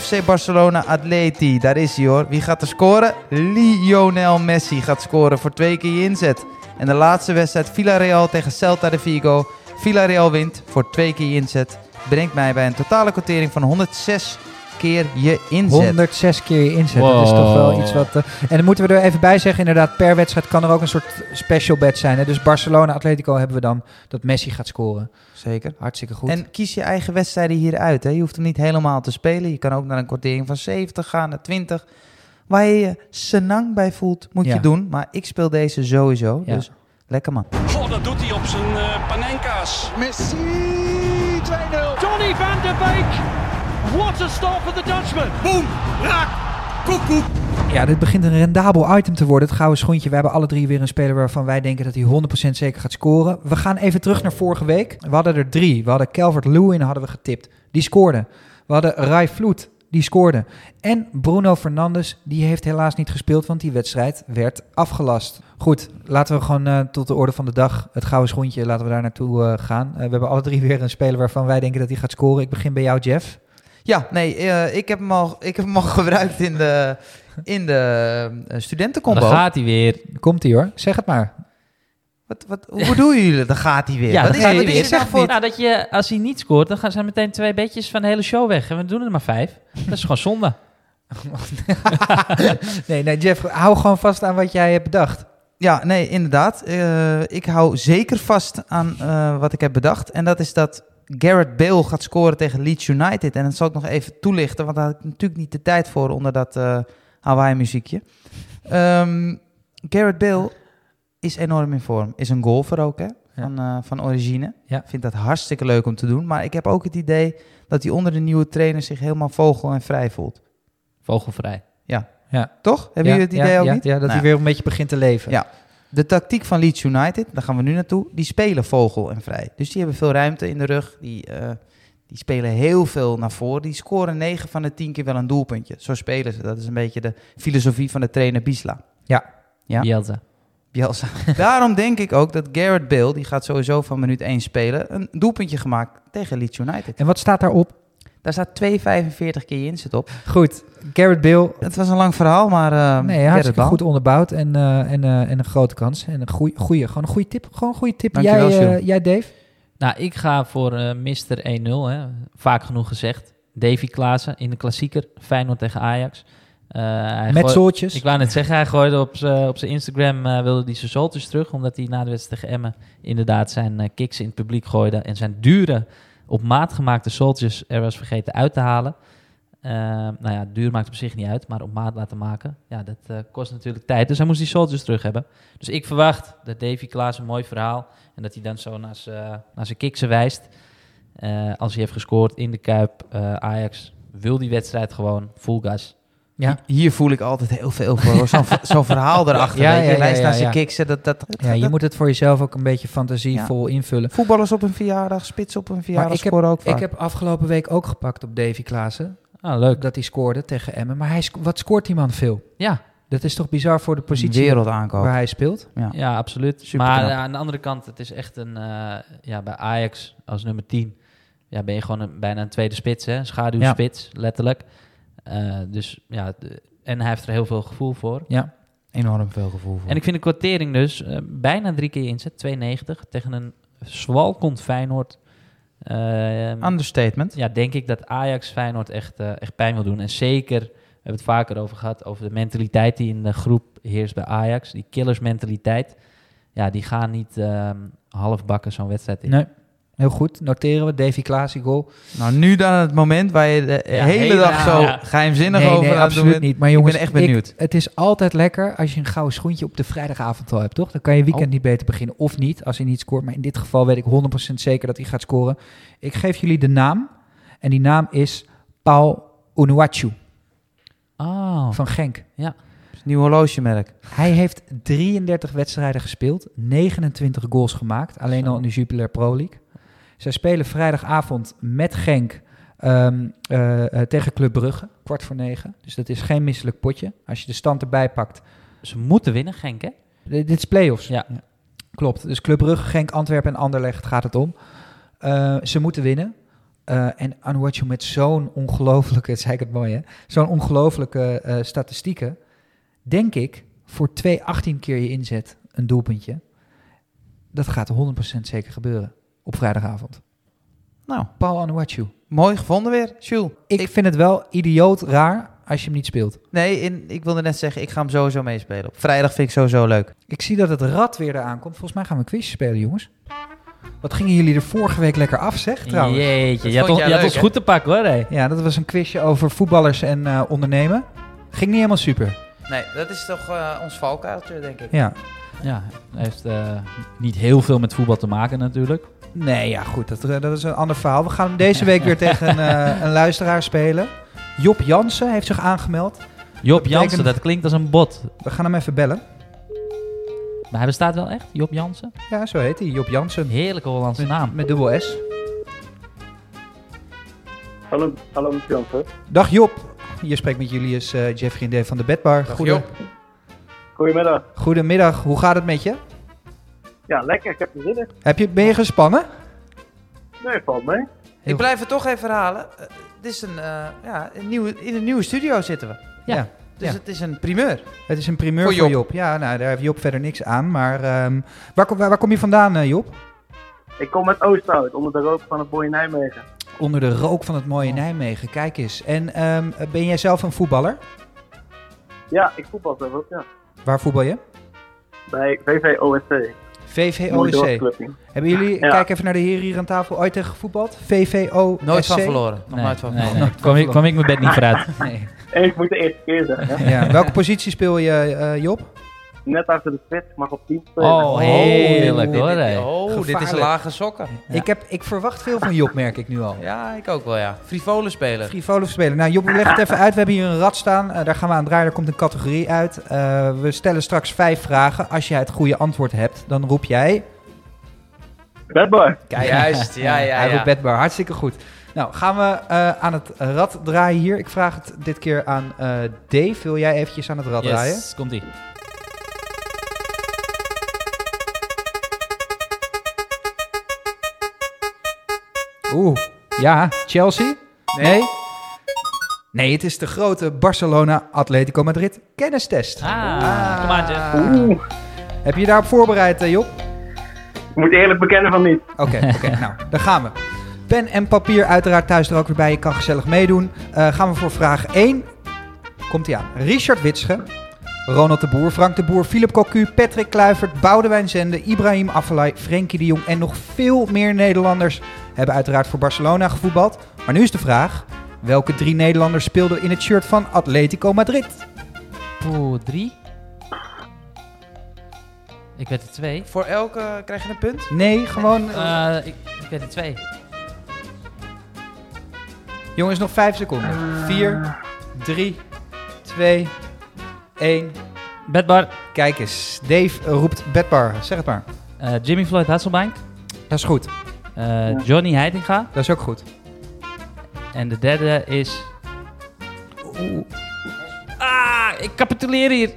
Speaker 3: FC Barcelona Atleti, daar is hij hoor. Wie gaat er scoren? Lionel Messi gaat scoren voor twee keer je inzet. En de laatste wedstrijd Villarreal tegen Celta de Vigo. Villarreal wint voor twee keer je inzet. Brengt mij bij een totale quotering van 106 keer je inzet.
Speaker 1: 106 keer je inzet. Dat is
Speaker 2: Wow.
Speaker 1: toch wel iets wat... eh, en dan moeten we er even bij zeggen, inderdaad, per wedstrijd kan er ook een soort special bet zijn. Hè? Dus Barcelona, Atletico hebben we dan dat Messi gaat scoren.
Speaker 3: Zeker.
Speaker 1: Hartstikke goed.
Speaker 3: En kies je eigen wedstrijden hieruit. Hè. Je hoeft hem niet helemaal te spelen. Je kan ook naar een kwartering van 70 gaan, naar 20. Waar je je senang bij voelt, moet
Speaker 1: Ja.
Speaker 3: je doen. Maar ik speel deze sowieso.
Speaker 1: Ja.
Speaker 3: Dus lekker man.
Speaker 6: Goh, dat doet hij op zijn eh, panenka's.
Speaker 7: Messi 2-0.
Speaker 6: Donny van de Beek. What a start for the Dutchman.
Speaker 1: Ja, dit begint een rendabel item te worden. Het gouden schoentje. We hebben alle drie weer een speler waarvan wij denken dat hij 100% zeker gaat scoren. We gaan even terug naar vorige week. We hadden er drie. We hadden Calvert Lewin hadden we getipt. Die scoorde. We hadden Rai Vloed. Die scoorde. En Bruno Fernandes, die heeft helaas niet gespeeld, want die wedstrijd werd afgelast. Goed, laten we gewoon eh, tot de orde van de dag, het gouden schoentje, laten we daar naartoe eh, gaan. Eh, we hebben alle drie weer een speler waarvan wij denken dat hij gaat scoren. Ik begin bij jou, Jeff.
Speaker 3: Ja, nee, eh, ik, heb hem al, ik heb hem al gebruikt in de, in de eh,
Speaker 2: Dan
Speaker 3: studentencombo.
Speaker 2: gaat hij weer.
Speaker 1: Komt hij hoor, zeg het maar.
Speaker 3: Wat, wat, hoe doen jullie? Dan gaat hij weer.
Speaker 2: Ja,
Speaker 3: wat
Speaker 2: dat
Speaker 3: is,
Speaker 2: gaat hij
Speaker 3: wat
Speaker 2: weer.
Speaker 3: is dit
Speaker 2: Zeg
Speaker 3: nou voor-
Speaker 2: Nou, dat je, als hij niet scoort, dan gaan zijn meteen twee bedjes van de hele show weg. En we doen er maar vijf. Dat is gewoon zonde.
Speaker 1: nee, nee, Jeff, hou gewoon vast aan wat jij hebt bedacht.
Speaker 3: Ja, nee, inderdaad. Eh, ik hou zeker vast aan eh, wat ik heb bedacht. En dat is dat Garrett Bale gaat scoren tegen Leeds United. En dat zal ik nog even toelichten, want daar had ik natuurlijk niet de tijd voor onder dat eh Hawaii-muziekje. Ehm, Garrett Bale is enorm in vorm. Is een golfer ook, hè? Van, eh, van origine.
Speaker 1: Ja.
Speaker 3: Vindt dat hartstikke leuk om te doen. Maar ik heb ook het idee dat hij onder de nieuwe trainer zich helemaal vogel en vrij voelt.
Speaker 2: Vogelvrij.
Speaker 3: Toch? Hebben
Speaker 1: Ja,
Speaker 3: jullie het
Speaker 1: ja,
Speaker 3: idee ook
Speaker 1: ja,
Speaker 3: niet?
Speaker 1: Ja, dat
Speaker 3: Nou
Speaker 1: hij weer een beetje begint te leven.
Speaker 3: Ja. De tactiek van Leeds United, daar gaan we nu naartoe, die spelen vogel en vrij. Dus die hebben veel ruimte in de rug. Die, eh, die spelen heel veel naar voren. Die scoren 9 van de 10 keer wel een doelpuntje. Zo spelen ze. Dat is een beetje de filosofie van de trainer Bisla. Ja.
Speaker 2: Jelte.
Speaker 3: Bielsa. Daarom denk ik ook dat Garrett Bale, die gaat sowieso van minuut 1 spelen, een doelpuntje gemaakt tegen Leeds United.
Speaker 1: En wat staat daarop?
Speaker 3: Daar staat 2,45 keer je inzet op.
Speaker 1: Goed, Garrett Bale. ehm,
Speaker 3: Het was een lang verhaal, maar... eh
Speaker 1: Nee,
Speaker 3: Gareth
Speaker 1: hartstikke
Speaker 3: Bale.
Speaker 1: goed onderbouwd en, eh, en, eh, en een grote kans. En een goeie, goeie, gewoon een goede tip. Gewoon een goede tip.
Speaker 3: Dankjewel,
Speaker 1: jij, eh,
Speaker 3: Sjoerd.
Speaker 1: jij, Dave?
Speaker 2: Nou, ik ga voor eh Mr. 1-0. Hè. Vaak genoeg gezegd. Davy Klaassen in de klassieker. Feyenoord tegen Ajax. Eh, hij
Speaker 1: Met
Speaker 2: gooi-
Speaker 1: zooltjes.
Speaker 2: Ik wou net zeggen, hij gooide op zijn op zijn Instagram, eh, wilde hij zijn zoltjes terug. Omdat hij na de wedstrijd tegen Emmen inderdaad zijn eh, kicks in het publiek gooide. En zijn dure, op maat gemaakte zoltjes er was vergeten uit te halen. Eh, nou ja, duur maakt op zich niet uit, maar op maat laten maken, ja, dat eh, kost natuurlijk tijd. Dus hij moest die soldiers terug hebben. Dus ik verwacht dat Davy Klaas een mooi verhaal en dat hij dan zo naar zijn, naar zijn kiksen wijst. Eh, als hij heeft gescoord in de Kuip, eh, Ajax wil die wedstrijd gewoon full gas.
Speaker 1: Ja.
Speaker 3: Hier voel ik altijd heel veel voor. hoor. Zo'n zo'n verhaal erachter.
Speaker 1: Ja,
Speaker 3: weet je.
Speaker 1: ja, ja,
Speaker 3: Wijs
Speaker 1: ja,
Speaker 3: naar
Speaker 1: ja.
Speaker 3: zijn kiksen. Dat, dat, dat,
Speaker 1: Ja, je moet het voor jezelf ook een beetje fantasievol invullen.
Speaker 3: Voetballers op een verjaardag, spits op een verjaardag
Speaker 1: ik heb-
Speaker 3: scoren ook vaak.
Speaker 1: Ik heb afgelopen week ook gepakt op Davy Klaassen.
Speaker 2: Ah, leuk.
Speaker 1: Dat hij scoorde tegen Emmen. Maar hij sco- wat scoort die man veel?
Speaker 2: Ja,
Speaker 1: Dat is toch bizar voor de positie
Speaker 3: wereld aankoop.
Speaker 1: waar hij speelt?
Speaker 2: Ja, absoluut.
Speaker 3: Super
Speaker 2: maar
Speaker 3: knap.
Speaker 2: eh, aan de andere kant, het is echt een... eh, ja, bij Ajax als nummer 10 ja, ben je gewoon een- bijna een tweede spits, hè? Een schaduwspits, letterlijk. Eh, dus ja, de- en hij heeft er heel veel gevoel voor.
Speaker 3: Enorm veel gevoel voor.
Speaker 2: En ik vind de kwartering dus eh, bijna drie keer inzet, 2,90 tegen een zwalkend Feyenoord. Eh,
Speaker 3: Understatement.
Speaker 2: ja, denk ik dat Ajax Feyenoord echt, eh, echt pijn wil doen. En zeker, we hebben het vaker over gehad, over de mentaliteit die in de groep heerst bij Ajax. Die killersmentaliteit. Ja, die gaan niet ehm halfbakken zo'n wedstrijd in.
Speaker 1: Nee. Heel goed, noteren we. Davy Klaassen goal.
Speaker 3: Nou, nu dan het moment waar je de
Speaker 2: Ja,
Speaker 3: hele
Speaker 2: hele-
Speaker 3: dag zo
Speaker 2: ja.
Speaker 3: geheimzinnig over aan het doen
Speaker 1: absoluut
Speaker 3: bent.
Speaker 1: niet. Maar jongens,
Speaker 3: ik ben echt benieuwd.
Speaker 1: het is altijd lekker als je een gouden schoentje op de vrijdagavond al hebt, toch? Dan kan je weekend
Speaker 2: Oh.
Speaker 1: niet beter beginnen. Of niet, als hij niet scoort. Maar in dit geval weet ik 100% zeker dat hij gaat scoren. Ik geef jullie de naam. En die naam is Paul Unuachu
Speaker 2: Oh,
Speaker 1: van Genk.
Speaker 3: Het is een Nieuw horlogemerk.
Speaker 1: Hij heeft 33 wedstrijden gespeeld, 29 goals gemaakt, alleen
Speaker 2: Zo.
Speaker 1: al in de Jupiler Pro League. Zij spelen vrijdagavond met Genk ehm, eh, eh, tegen Club Brugge, kwart voor negen. Dus dat is geen misselijk potje. Als je de stand erbij pakt,
Speaker 2: ze moeten winnen, Genk, hè?
Speaker 1: D- dit is play-offs.
Speaker 2: Ja.
Speaker 1: Klopt. Dus Club Brugge, Genk, Antwerpen en Anderlecht gaat het om. Eh, ze moeten winnen. Eh, en Anuachu met zo'n ongelofelijke, zei ik het mooi hè, zo'n ongelofelijke eh, statistieken, denk ik voor 2,18 keer je inzet een doelpuntje. Dat gaat 100% zeker gebeuren op vrijdagavond.
Speaker 3: Nou,
Speaker 1: Paul Anuachu.
Speaker 3: Mooi gevonden weer, Jules.
Speaker 1: Ik, vind het wel idioot raar als je hem niet speelt.
Speaker 3: nee, in, ik wilde net zeggen, ik ga hem sowieso meespelen. Op vrijdag vind ik sowieso leuk.
Speaker 1: Ik zie dat het rad weer eraan komt. Volgens mij gaan we een quizje spelen, jongens. Wat gingen jullie er vorige week lekker af, zeg, trouwens?
Speaker 2: Jeetje, je had,
Speaker 3: vond
Speaker 2: ons,
Speaker 3: jij
Speaker 2: je had
Speaker 3: leuk,
Speaker 2: ons
Speaker 3: hè?
Speaker 2: goed te pakken hoor. hé.
Speaker 1: Ja, dat was een quizje over voetballers en eh, ondernemen. Ging niet helemaal super.
Speaker 3: Nee, dat is toch eh, ons valkuiltje, denk ik.
Speaker 1: Ja.
Speaker 2: Ja, hij heeft eh, niet heel veel met voetbal te maken natuurlijk.
Speaker 1: Nee, ja, goed. Dat, eh, dat is een ander verhaal. We gaan hem deze week weer tegen een, eh, een luisteraar spelen. Job Jansen heeft zich aangemeld.
Speaker 2: Job
Speaker 1: betekent-
Speaker 2: Jansen, dat klinkt als een bot.
Speaker 1: We gaan hem even bellen.
Speaker 2: Maar hij bestaat wel echt, Job Jansen?
Speaker 1: Ja, zo heet hij. Job Jansen.
Speaker 2: Een heerlijke Hollandse naam.
Speaker 1: Met dubbel S.
Speaker 7: Hallo, hallo met Jansen.
Speaker 1: Dag Job. Je spreekt met Julius eh Jeffrey en Dave van de Bedbar.
Speaker 3: Job.
Speaker 7: Goedemiddag.
Speaker 1: Goedemiddag. Hoe gaat het met je?
Speaker 7: Ja, lekker. Ik heb er zin in.
Speaker 1: Heb je, ben je gespannen?
Speaker 7: Nee, valt mee.
Speaker 3: Ik blijf het toch even herhalen. Eh, dit is een, eh, ja, een nieuwe, in een nieuwe studio zitten we.
Speaker 2: Ja.
Speaker 3: Dus
Speaker 1: Ja.
Speaker 3: het is een primeur.
Speaker 1: Het is een primeur voor
Speaker 3: Voor
Speaker 1: Job.
Speaker 3: Job.
Speaker 1: Ja, nou, daar heeft Job verder niks aan. Maar ehm, waar, kom- waar, waar kom je vandaan, eh, Job?
Speaker 7: Ik kom uit Oosterhout, onder de rook van het mooie Nijmegen.
Speaker 1: Onder de rook van het mooie Nijmegen. Kijk eens. En ehm, ben jij zelf een voetballer?
Speaker 7: Ja, ik voetbal zelf ook, ja.
Speaker 1: Waar voetbal je?
Speaker 7: Bij VVOSC.
Speaker 1: VVOSC. Hebben jullie,
Speaker 7: Ja.
Speaker 1: kijk even naar de heren hier aan tafel, ooit tegen gevoetbald? VVOSC?
Speaker 3: Nooit van verloren. Nog
Speaker 2: Nee,
Speaker 3: nooit van
Speaker 2: nee,
Speaker 3: verloren.
Speaker 2: nee. Kwam, ik, kwam ik mijn bed niet vooruit.
Speaker 1: Nee.
Speaker 7: Ik moet de eerste keer zeggen. hè.
Speaker 1: Ja. Welke positie speel je, eh, Job?
Speaker 7: Net achter de spits, mag op 10 spelen.
Speaker 2: Oh, heerlijk hoor. hé.
Speaker 3: Oh, dit is
Speaker 1: Gevaarlijk.
Speaker 3: lage sokken.
Speaker 1: Ik, heb, ik verwacht veel van Job, merk ik nu al.
Speaker 3: Ja, ik ook wel, ja. Frivole speler.
Speaker 1: Frivole spelen. Nou, Job, leg het even uit. We hebben hier een rad staan. Eh, daar gaan we aan draaien. Er komt een categorie uit. Eh, we stellen straks vijf vragen. Als jij het goede antwoord hebt, dan roep jij.
Speaker 7: Bedbar.
Speaker 3: Kijk, juist. Ja, ja,
Speaker 1: Eh, Hij
Speaker 3: ja.
Speaker 1: roept bedbar. Hartstikke goed. Nou, gaan we eh, aan het rad draaien hier. Ik vraag het dit keer aan eh, Dave. Wil jij eventjes aan het rad draaien?
Speaker 2: Yes, komt ie.
Speaker 1: Oeh, ja. Chelsea? Nee. nee. het is de grote Barcelona-Atletico Madrid kennistest.
Speaker 2: Ah, kom aan Jeff.
Speaker 7: Oeh,
Speaker 1: Heb je je daarop voorbereid, eh, Job?
Speaker 7: ik moet eerlijk bekennen van niet.
Speaker 1: Oké, oké. nou, daar gaan we. Pen en papier uiteraard thuis er ook weer bij. Je kan gezellig meedoen. Eh, gaan we voor vraag 1. Komt ie aan. Richard Witsche, Ronald de Boer, Frank de Boer, Philip Cocu, Patrick Kluivert, Boudewijn Zende, Ibrahim Afellay, Frenkie de Jong en nog veel meer Nederlanders hebben uiteraard voor Barcelona gevoetbald. Maar nu is de vraag, welke drie Nederlanders speelden in het shirt van Atletico Madrid?
Speaker 2: Poeh, drie. Ik werd er twee.
Speaker 3: Voor elke krijg je een punt?
Speaker 1: Nee, gewoon...
Speaker 2: Eh, ik, ik werd er twee.
Speaker 1: Jongens, nog 5 seconden. 4, 3, 2, 1.
Speaker 2: Bedbar,
Speaker 1: Kijk eens, Dave roept bedbar. Zeg het maar.
Speaker 2: eh, Jimmy Floyd Hasselbank,
Speaker 1: Dat is goed.
Speaker 2: eh, Johnny Heitinga.
Speaker 1: Dat is ook goed.
Speaker 2: En de derde is... Oeh. Ah, ik capituleer hier.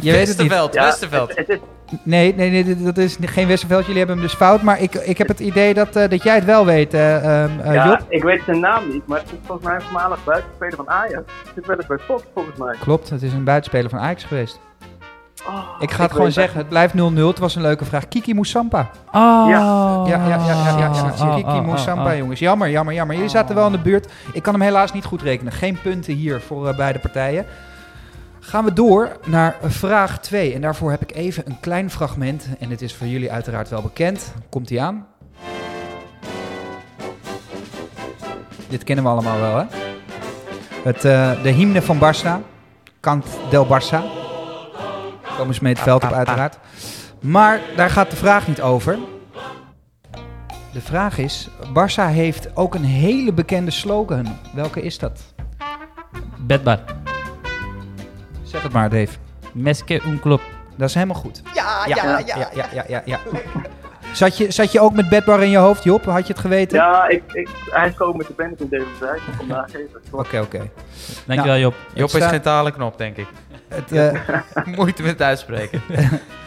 Speaker 1: Je weet het niet.
Speaker 3: Westerveld,
Speaker 7: Ja,
Speaker 3: Westerveld.
Speaker 7: het, het is,
Speaker 1: Nee, nee, nee, dit- dat is geen Westerveld. Jullie hebben hem dus fout. Maar ik, ik heb het idee dat, eh, dat jij het wel weet, eh ehm, eh,
Speaker 7: ja,
Speaker 1: Job.
Speaker 7: ik weet zijn naam niet, maar het is volgens mij een voormalig buitenspeler van Ajax. Zit wel eens bij Fox, volgens mij.
Speaker 1: Klopt, het is een buitenspeler van Ajax geweest.
Speaker 7: Oh,
Speaker 1: Ik ga het gewoon
Speaker 7: weet
Speaker 1: zeggen, het blijft 0-0. Het was een leuke vraag. Kiki Moussampa.
Speaker 2: Oh.
Speaker 1: Ja, ja, ja, ja, ja, ja.
Speaker 2: Oh,
Speaker 1: Kiki
Speaker 2: oh, oh,
Speaker 1: Moussampa,
Speaker 2: oh.
Speaker 1: jongens. Jammer, jammer, jammer. Jullie zaten wel in de buurt. Ik kan hem helaas niet goed rekenen. Geen punten hier voor eh, beide partijen. Gaan we door naar vraag 2. En daarvoor heb ik even een klein fragment. En het is voor jullie uiteraard wel bekend. Komt hij aan? Dit kennen we allemaal wel, hè? Het, eh, de hymne van Barça. Kant del Barça. Komen ze mee het veld op, uiteraard. Maar daar gaat de vraag niet over. De vraag is, Barça heeft ook een hele bekende slogan. Welke is dat?
Speaker 2: Bedbar,
Speaker 1: Zeg het maar, Dave.
Speaker 2: Meske un club.
Speaker 1: Dat is helemaal goed. Ja, ja, ja, ja, ja, ja. ja. Zat, je, zat je ook met bedbar in je hoofd, Job? Had je het
Speaker 7: ik.
Speaker 1: geweten?
Speaker 7: Ja, ik, ik, hij is gewoon met de band in deze tijd. Ik kom daar geven.
Speaker 1: Oké, oké.
Speaker 2: Dankjewel Job.
Speaker 3: Job
Speaker 1: Het
Speaker 3: is
Speaker 1: sta-
Speaker 3: geen talenknop, denk ik.
Speaker 1: Het, eh,
Speaker 3: Moeite met uitspreken.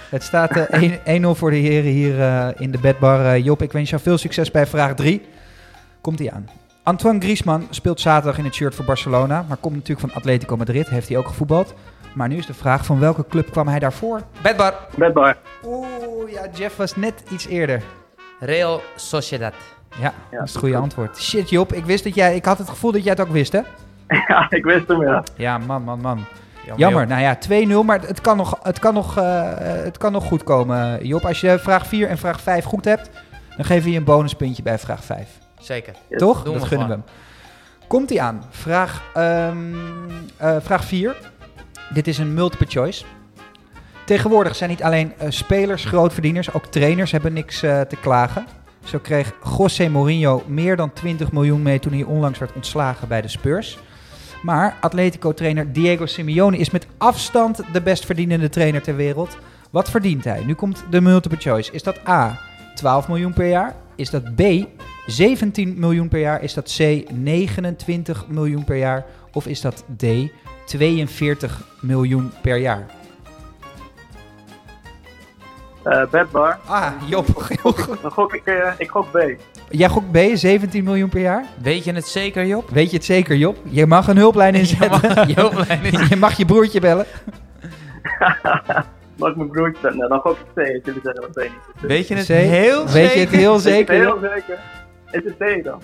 Speaker 1: het staat eh, 1 1-0 voor de heren hier eh, in de bedbar. Eh, Job, ik wens jou veel succes bij vraag 3. Komt hij aan. Antoine Griezmann speelt zaterdag in het shirt voor Barcelona, maar komt natuurlijk van Atletico Madrid. Heeft hij ook gevoetbald. Maar nu is de vraag, van welke club kwam hij daarvoor?
Speaker 3: Bedbar,
Speaker 7: Bedbar.
Speaker 1: Oeh, ja, Jeff was net iets eerder.
Speaker 3: Real Sociedad.
Speaker 1: Ja, dat is het goede antwoord. Shit Job, ik wist dat jij... Ik had het gevoel dat jij het ook wist, hè?
Speaker 7: ja, ik wist hem, ja.
Speaker 1: Ja, man, man, man. Jammer. Nou ja, 2-0, maar het kan, nog, het, kan nog, eh, het kan nog goed komen, Job. Als je vraag 4 en vraag 5 goed hebt, dan geven we je een bonuspuntje bij vraag 5.
Speaker 3: Zeker.
Speaker 1: Toch?
Speaker 3: Doen
Speaker 1: dat
Speaker 3: we
Speaker 1: gunnen we
Speaker 3: gewoon.
Speaker 1: hem. Komt hij aan. Vraag, ehm, eh, vraag 4. Dit is een multiple choice. Tegenwoordig zijn niet alleen eh, spelers grootverdieners, ook trainers hebben niks eh, te klagen. Zo kreeg José Mourinho meer dan 20 miljoen mee toen hij onlangs werd ontslagen bij de Spurs. Maar Atletico-trainer Diego Simeone is met afstand de best verdienende trainer ter wereld. Wat verdient hij? Nu komt de multiple choice. Is dat A, 12 miljoen per jaar? Is dat B, 17 miljoen per jaar? Is dat C, 29 miljoen per jaar? Of is dat D, 42 miljoen per jaar?
Speaker 7: Eh bedbar.
Speaker 1: Ah, Job, heel goed.
Speaker 7: Dan gok ik, eh, ik gok B.
Speaker 1: Jij gokt B, 17 miljoen per jaar?
Speaker 3: Weet je het zeker, Job?
Speaker 1: Weet je het zeker, Job? Je mag een hulplijn
Speaker 3: Je
Speaker 1: inzetten.
Speaker 3: mag, Job Lijn is-
Speaker 1: Je mag je broertje bellen.
Speaker 7: Mag ik mijn broertje zetten? Nou, dan gok ik C. als Jullie zeggen dat C niet. is.
Speaker 3: Weet je het
Speaker 1: C.
Speaker 3: heel
Speaker 1: Weet je het
Speaker 3: zeker?
Speaker 1: heel
Speaker 7: Is het
Speaker 1: zeker?
Speaker 7: Heel zeker. Is het D dan?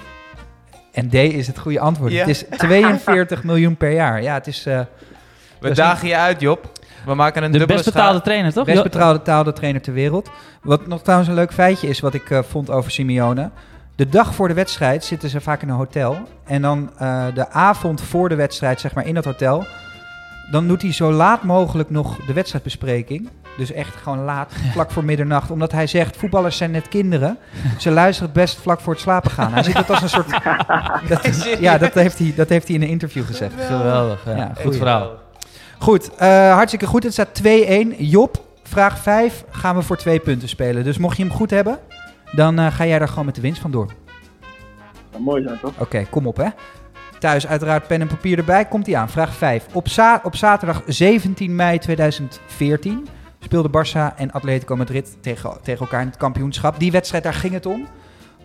Speaker 1: En D is het goede antwoord.
Speaker 3: Ja.
Speaker 1: Het is 42 miljoen per jaar. Ja, het is eh
Speaker 3: We dagen je uit, Job. We maken een
Speaker 2: De
Speaker 3: dubbele
Speaker 2: best betaalde
Speaker 3: schaal.
Speaker 2: trainer, toch?
Speaker 1: best
Speaker 2: Jo-
Speaker 1: betrouwde taalde trainer ter wereld. Wat nog trouwens een leuk feitje is, wat ik eh, vond over Simeone. De dag voor de wedstrijd zitten ze vaak in een hotel. En dan eh, de avond voor de wedstrijd, zeg maar, in dat hotel. Dan doet hij zo laat mogelijk nog de wedstrijdbespreking. Dus echt gewoon laat, vlak voor middernacht. Omdat hij zegt, voetballers zijn net kinderen. Ze luisteren het best vlak voor het slapen gaan. Hij ziet dat als een soort... dat, ja, dat heeft, hij, dat heeft hij in een interview gezegd.
Speaker 2: Geweldig, ja.
Speaker 1: Ja,
Speaker 2: goed
Speaker 1: goeie.
Speaker 2: verhaal.
Speaker 1: Goed, eh, hartstikke goed. Het staat 2-1. Job, vraag 5 gaan we voor twee punten spelen. Dus mocht je hem goed hebben, dan eh, ga jij daar gewoon met de winst vandoor. Oké,
Speaker 7: Nou, mooi zijn toch?
Speaker 1: kom op hè. Thuis uiteraard pen en papier erbij. Komt hij aan. Vraag 5. Op, za- op zaterdag 17 mei 2014 speelden Barça en Atletico Madrid tegen, tegen elkaar in het kampioenschap. Die wedstrijd, daar ging het om.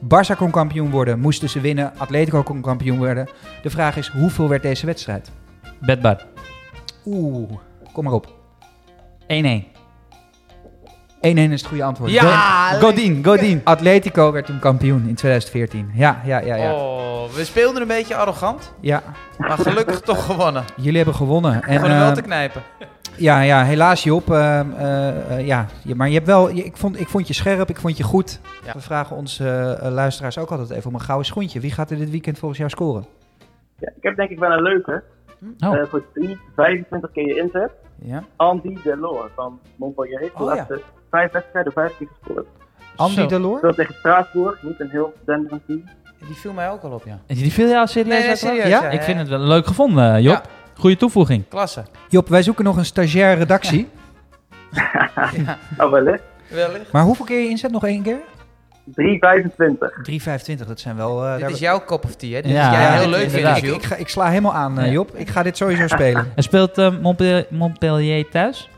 Speaker 1: Barça kon kampioen worden, moesten ze winnen. Atletico kon kampioen worden. De vraag is, hoeveel werd deze wedstrijd?
Speaker 2: Bedbar.
Speaker 1: Oeh, kom maar op.
Speaker 2: 1-1.
Speaker 1: 1-1 is het goede antwoord.
Speaker 3: Ja,
Speaker 1: Go- Godin, Godin. Atletico werd toen kampioen in 2014. Ja, ja, ja, ja.
Speaker 3: Oh, we speelden een beetje arrogant,
Speaker 1: ja.
Speaker 3: maar gelukkig toch gewonnen.
Speaker 1: Jullie hebben gewonnen. En,
Speaker 3: Gewoon om wel
Speaker 1: eh,
Speaker 3: te knijpen.
Speaker 1: ja, ja, helaas Job. eh, eh, eh, ja. Je- Maar je hebt wel, je- ik, vond, ik vond je scherp, ik vond je goed.
Speaker 3: Ja.
Speaker 1: We vragen onze eh, eh, luisteraars ook altijd even om een gouden schoentje. Wie gaat er dit weekend volgens jou scoren?
Speaker 7: Ja, ik heb denk ik wel een leuke.
Speaker 2: Oh.
Speaker 7: Eh, voor 3, 25 keer je inzet.
Speaker 3: Ja.
Speaker 7: Andy Delors van Montpellier heeft de
Speaker 1: Oh, ja.
Speaker 7: laatste vijf wedstrijden vijf keer gescoord.
Speaker 1: Andy
Speaker 2: Zo.
Speaker 1: Deloor?
Speaker 7: Speelt tegen Straatsburg, niet een heel denderend team.
Speaker 3: Die viel mij ook al op, ja.
Speaker 2: Die viel jou serieus
Speaker 3: Nee, nee,
Speaker 2: uit de laag?
Speaker 3: serieus, ja,
Speaker 2: Ik
Speaker 3: ja,
Speaker 2: vind
Speaker 3: ja.
Speaker 2: het wel leuk gevonden, eh, Job.
Speaker 3: Ja.
Speaker 2: Goeie toevoeging.
Speaker 3: Klasse.
Speaker 1: Job, wij zoeken nog een stagiair redactie.
Speaker 7: Oh, wellicht.
Speaker 3: Wellicht.
Speaker 1: Maar hoeveel keer je inzet? Nog één keer?
Speaker 7: 3,25.
Speaker 1: 3,25. Dat zijn wel... eh, daar-
Speaker 3: Dit is jouw kop of tea, hè? Dit
Speaker 2: Ja,
Speaker 3: is jij
Speaker 2: ja,
Speaker 3: heel
Speaker 2: dit-
Speaker 3: leuk vindt,
Speaker 2: inderdaad.
Speaker 1: ik,
Speaker 3: Jules.
Speaker 1: ik, ga, ik sla helemaal aan, eh,
Speaker 2: Ja.
Speaker 1: Job. Ik ga dit sowieso spelen.
Speaker 2: En speelt eh, Montpellier, Montpellier thuis?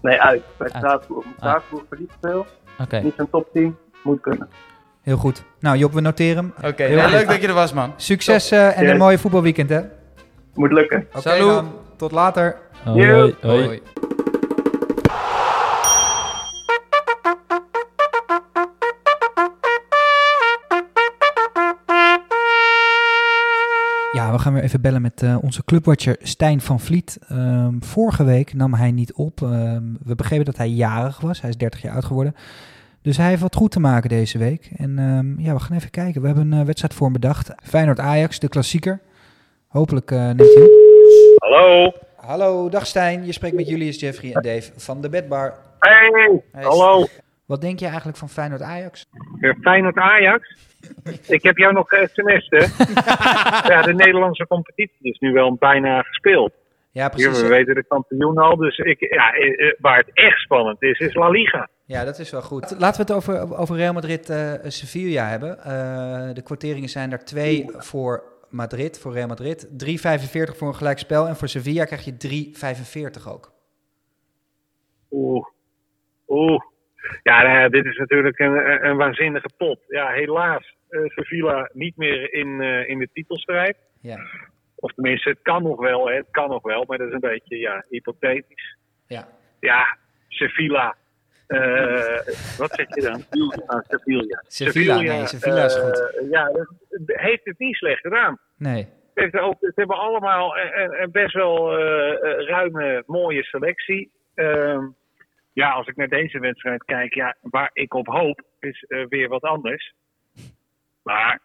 Speaker 7: Nee, uit. Bij
Speaker 2: Uit.
Speaker 7: Straatsburg. Straatsburg verliest veel.
Speaker 2: Oké.
Speaker 7: Niet zo'n topteam. Moet kunnen.
Speaker 1: Heel goed. Nou, Job, we noteren hem.
Speaker 3: Oké,
Speaker 1: Heel
Speaker 3: ja,
Speaker 1: goed.
Speaker 3: leuk dat je er was, man.
Speaker 1: Succes eh, en een
Speaker 7: Yes.
Speaker 1: mooie voetbalweekend, hè? Oké,
Speaker 7: Moet lukken.
Speaker 3: Salut.
Speaker 1: dan. Tot later.
Speaker 2: Hoi,
Speaker 7: Joep.
Speaker 2: hoi.
Speaker 1: Ja, we gaan weer even bellen met eh, onze clubwatcher Stijn van Vliet. Ehm, vorige week nam hij niet op. Ehm, we begrepen dat hij jarig was. Hij is 30 jaar oud geworden. Dus hij heeft wat goed te maken deze week. En ehm, ja, we gaan even kijken. We hebben een eh, wedstrijd voor hem bedacht. Feyenoord-Ajax, de klassieker. Hopelijk eh neemt hij hem.
Speaker 5: Hallo.
Speaker 1: Hallo, dag Stijn. Je spreekt met Julius, Jeffrey en Dave van de Bedbar.
Speaker 5: Hey. Hallo.
Speaker 1: Wat denk je eigenlijk van Feyenoord-Ajax?
Speaker 5: Eh, Feyenoord Ajax. Ik heb jou nog eh, sms, hè? ja, de Nederlandse competitie is nu wel bijna gespeeld.
Speaker 1: Ja,
Speaker 5: Ja,
Speaker 1: precies.
Speaker 5: we weten de kampioen al, dus ik, ja, eh, eh, waar het echt spannend is, is La Liga.
Speaker 1: Ja, dat is wel goed. Laten we het over, over Real Madrid-Sevilla hebben. Eh, de kwarteringen zijn daar 2 voor Madrid, voor Real Madrid. 3,45 voor een gelijkspel. En voor Sevilla krijg je 3,45 ook.
Speaker 5: Oeh. Oeh. Ja, nou ja, dit is natuurlijk een, eh, een- een waanzinnige pot. Ja, helaas eh Sevilla niet meer in, eh, in de titelstrijd.
Speaker 1: Ja.
Speaker 5: Of tenminste, het kan nog wel, hè. Het kan nog wel, maar dat is een beetje, ja, hypothetisch.
Speaker 1: Ja.
Speaker 5: Ja, Sevilla. Eh, wat zeg je dan? Ah, Sevilla.
Speaker 1: Sevilla, nee, Sevilla is goed.
Speaker 5: eh, ja, dat- heeft het niet slecht gedaan.
Speaker 1: Nee.
Speaker 5: Het heeft ook, ze hebben allemaal een, een- een best wel eh, eh, ruime, mooie selectie. Ehm, ja, als ik naar deze wedstrijd kijk, ja, waar ik op hoop, is eh, weer wat anders. Maar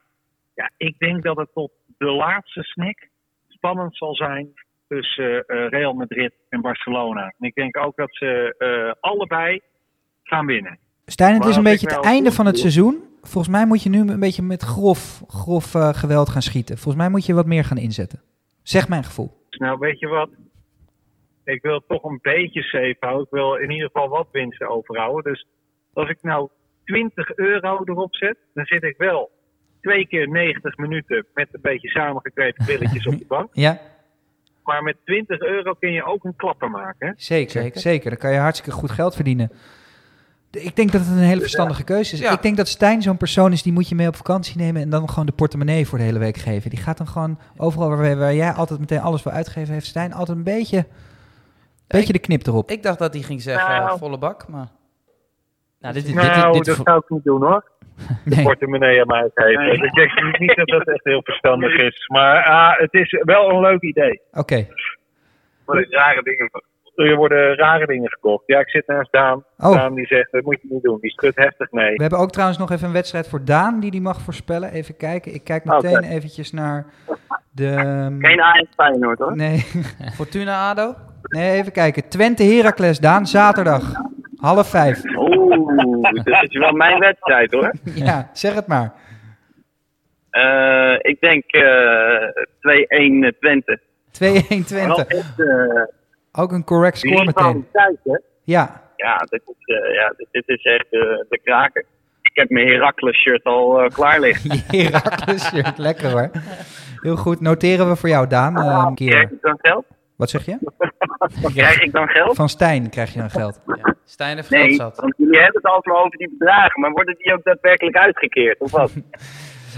Speaker 5: ja, ik denk dat het tot de laatste snack spannend zal zijn tussen eh, eh, Real Madrid en Barcelona. En ik denk ook dat ze eh, allebei gaan winnen.
Speaker 1: Stijn, het
Speaker 5: Maar
Speaker 1: is een
Speaker 5: als
Speaker 1: beetje
Speaker 5: ik
Speaker 1: het
Speaker 5: nou-
Speaker 1: einde van het seizoen. Volgens mij moet je nu een beetje met grof, grof eh, geweld gaan schieten. Volgens mij moet je wat meer gaan inzetten. Zeg mijn gevoel.
Speaker 5: Dus nou, weet je wat? Ik wil het toch een beetje safe houden. Ik wil in ieder geval wat winsten overhouden. Dus als ik nou 20 euro erop zet, dan zit ik wel twee keer 90 minuten met een beetje samengekleed billetjes op de bank.
Speaker 1: Ja,
Speaker 5: Maar met 20 euro kun je ook een klapper maken. hè?
Speaker 1: zeker. Zeker.
Speaker 3: Zeker.
Speaker 1: Dan kan je hartstikke goed geld verdienen. De- Ik denk dat het een hele verstandige keuze is.
Speaker 3: Ja.
Speaker 1: Ik denk dat Stijn zo'n persoon is, die moet je mee op vakantie nemen en dan gewoon de portemonnee voor de hele week geven. Die gaat dan gewoon overal waar, waar jij altijd meteen alles wil uitgeven, heeft Stijn altijd een beetje, beetje de knip erop.
Speaker 3: Ik dacht dat hij ging zeggen
Speaker 5: Nou.
Speaker 3: eh, volle bak, maar...
Speaker 2: Nou, dit, dit, dit,
Speaker 5: Nou,
Speaker 2: dit-
Speaker 5: dat zou ik niet doen hoor.
Speaker 1: Nee.
Speaker 5: Portemonnee aan mij geven. Ik denk niet dat dat echt heel verstandig is. Maar ah, het is wel een leuk idee.
Speaker 1: Oké,
Speaker 5: Er rare dingen. Er worden rare dingen gekocht. Ja, ik zit naast Daan.
Speaker 1: Oh.
Speaker 5: Daan die zegt, dat moet je niet doen. Die schudt heftig mee.
Speaker 1: we hebben ook trouwens nog even een wedstrijd voor Daan die die mag voorspellen. Even kijken. Ik kijk meteen eventjes naar de... ehm,
Speaker 7: Geen Ajax Feyenoord hoor.
Speaker 1: Nee,
Speaker 3: Fortuna ADO?
Speaker 1: nee even kijken. Twente Heracles, Daan, zaterdag. Half vijf.
Speaker 7: Oeh, dat is wel mijn wedstrijd hoor.
Speaker 1: Ja, zeg het maar.
Speaker 7: Eh, ik denk eh 2-1 Twente.
Speaker 1: 2-1
Speaker 5: Wel
Speaker 1: Twente.
Speaker 5: echt, eh,
Speaker 1: Ook een correct
Speaker 5: die
Speaker 1: score meteen.
Speaker 5: rivaliteit, hè?
Speaker 1: Ja,
Speaker 7: Ja, dit is, eh, ja, dit, dit is echt eh, de kraker. Ik heb mijn Heracles shirt al eh, klaar liggen.
Speaker 1: Heracles shirt. Lekker hoor. Heel goed. Noteren we voor jou, Daan. eh,
Speaker 7: Krijg
Speaker 1: een keer.
Speaker 7: ik dan geld?
Speaker 1: Wat zeg je?
Speaker 7: Krijg ik dan geld?
Speaker 1: Van Stijn krijg je dan geld.
Speaker 3: Ja. Stijn heeft geld
Speaker 7: Nee,
Speaker 3: zat.
Speaker 7: want jullie hebben het overal over die bedragen, maar worden die ook daadwerkelijk uitgekeerd, of wat?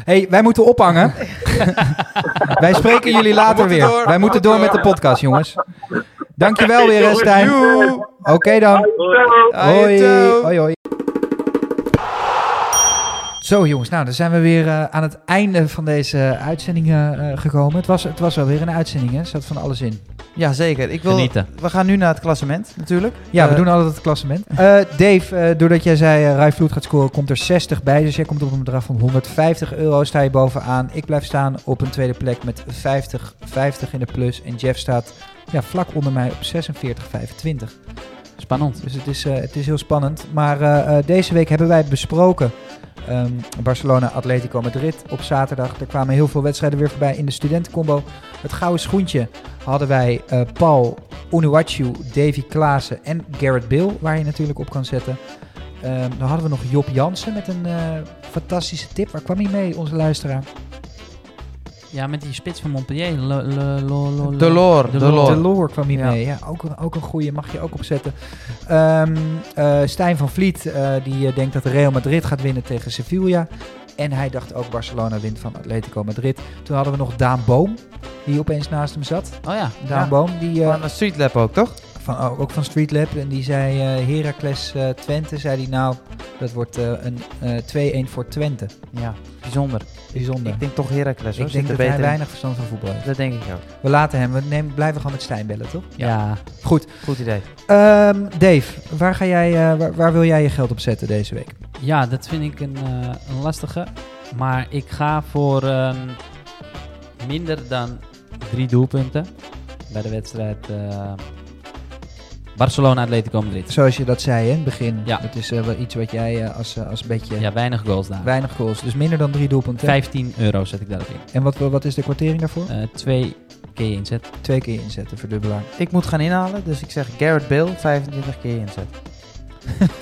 Speaker 1: hey, wij moeten ophangen. wij spreken jullie later
Speaker 3: moeten
Speaker 1: weer.
Speaker 3: door,
Speaker 1: wij moeten
Speaker 3: we moeten
Speaker 1: door met de
Speaker 3: door.
Speaker 1: podcast, jongens. Dankjewel weer, hè, Stijn. Oké dan.
Speaker 7: Zo.
Speaker 1: Hoi.
Speaker 3: Ajeto.
Speaker 1: Hoi, hoi. Zo jongens, nou dan zijn we weer eh, aan het einde van deze uitzending eh, eh, gekomen. Het was, het was wel weer een uitzending, hè? Er zat van alles in.
Speaker 3: Ja, zeker. Ik wil,
Speaker 2: Genieten.
Speaker 3: We gaan nu naar het klassement, natuurlijk.
Speaker 1: Ja, we
Speaker 3: Eh,
Speaker 1: doen altijd het klassement. Eh, Dave, eh, doordat jij zei eh Rai Vloed gaat scoren, komt er 60 bij. Dus jij komt op een bedrag van 150 euro, sta je bovenaan. Ik blijf staan op een tweede plek met 50, 50 in de plus. En Jeff staat ja, vlak onder mij op 46, 25.
Speaker 2: Spannend.
Speaker 1: Dus het is, eh, het is heel spannend. Maar eh, eh, deze week hebben wij besproken ehm, Barcelona, Atletico Madrid op zaterdag. Er kwamen heel veel wedstrijden weer voorbij in de studentencombo. Het gouden schoentje hadden wij eh, Paul Onuachu, Davy Klaassen en Garrett Bill, waar je natuurlijk op kan zetten. Ehm, dan hadden we nog Job Jansen met een eh, fantastische tip. Waar kwam hij mee, onze luisteraar?
Speaker 2: Ja, met die spits van Montpellier. Lo- lo- lo- lo- lo-
Speaker 3: Delors, Delors.
Speaker 1: De Loor kwam hier
Speaker 3: Oh. Ja.
Speaker 1: mee. Ja, ook, een- ook een goede, mag je ook opzetten. Ehm, eh, Stijn van Vliet, eh, die eh, denkt dat Real Madrid gaat winnen tegen Sevilla. En hij dacht ook Barcelona wint van Atletico Madrid. Toen hadden we nog Daan Boom, die opeens naast hem zat.
Speaker 2: Oh ja.
Speaker 1: Daan Boom, die, eh,
Speaker 3: Van de Street Lab ook, toch?
Speaker 1: van, oh, ook van Street Lab. En die zei eh Heracles eh, Twente, zei hij nou, dat wordt eh, een eh, 2-1 voor Twente.
Speaker 3: Ja, bijzonder.
Speaker 1: Bijzonder.
Speaker 3: Ik
Speaker 1: Ik
Speaker 3: denk toch Heracles. hoor.
Speaker 1: denk,
Speaker 3: Zit er
Speaker 1: dat hij
Speaker 3: beter in.
Speaker 1: weinig verstand van voetbal heeft.
Speaker 3: Dat denk ik ook.
Speaker 1: We laten hem, we nemen, blijven gewoon met Stijn bellen, toch?
Speaker 2: Ja.
Speaker 1: Goed.
Speaker 3: Goed idee.
Speaker 1: Ehm, Dave, waar, ga jij, eh, waar, waar wil jij je geld op zetten deze week?
Speaker 2: Ja, dat vind ik een, eh, een lastige. Maar ik ga voor ehm, minder dan drie doelpunten bij de wedstrijd eh, Barcelona-Atletico Madrid.
Speaker 1: Zoals je dat zei hè, in het begin.
Speaker 2: Ja.
Speaker 1: Dat is eh, wel iets wat jij eh, als, eh, als bedje...
Speaker 2: Ja, weinig goals daar.
Speaker 1: Weinig goals, dus minder dan drie doelpunten.
Speaker 2: 15 euro zet ik daarop in.
Speaker 1: En wat, wat is de kwartering daarvoor?
Speaker 2: Eh, twee keer inzet.
Speaker 1: Twee keer inzetten, verdubbelaar.
Speaker 3: Ik moet gaan inhalen, dus ik zeg Garrett Bill 25 keer inzet.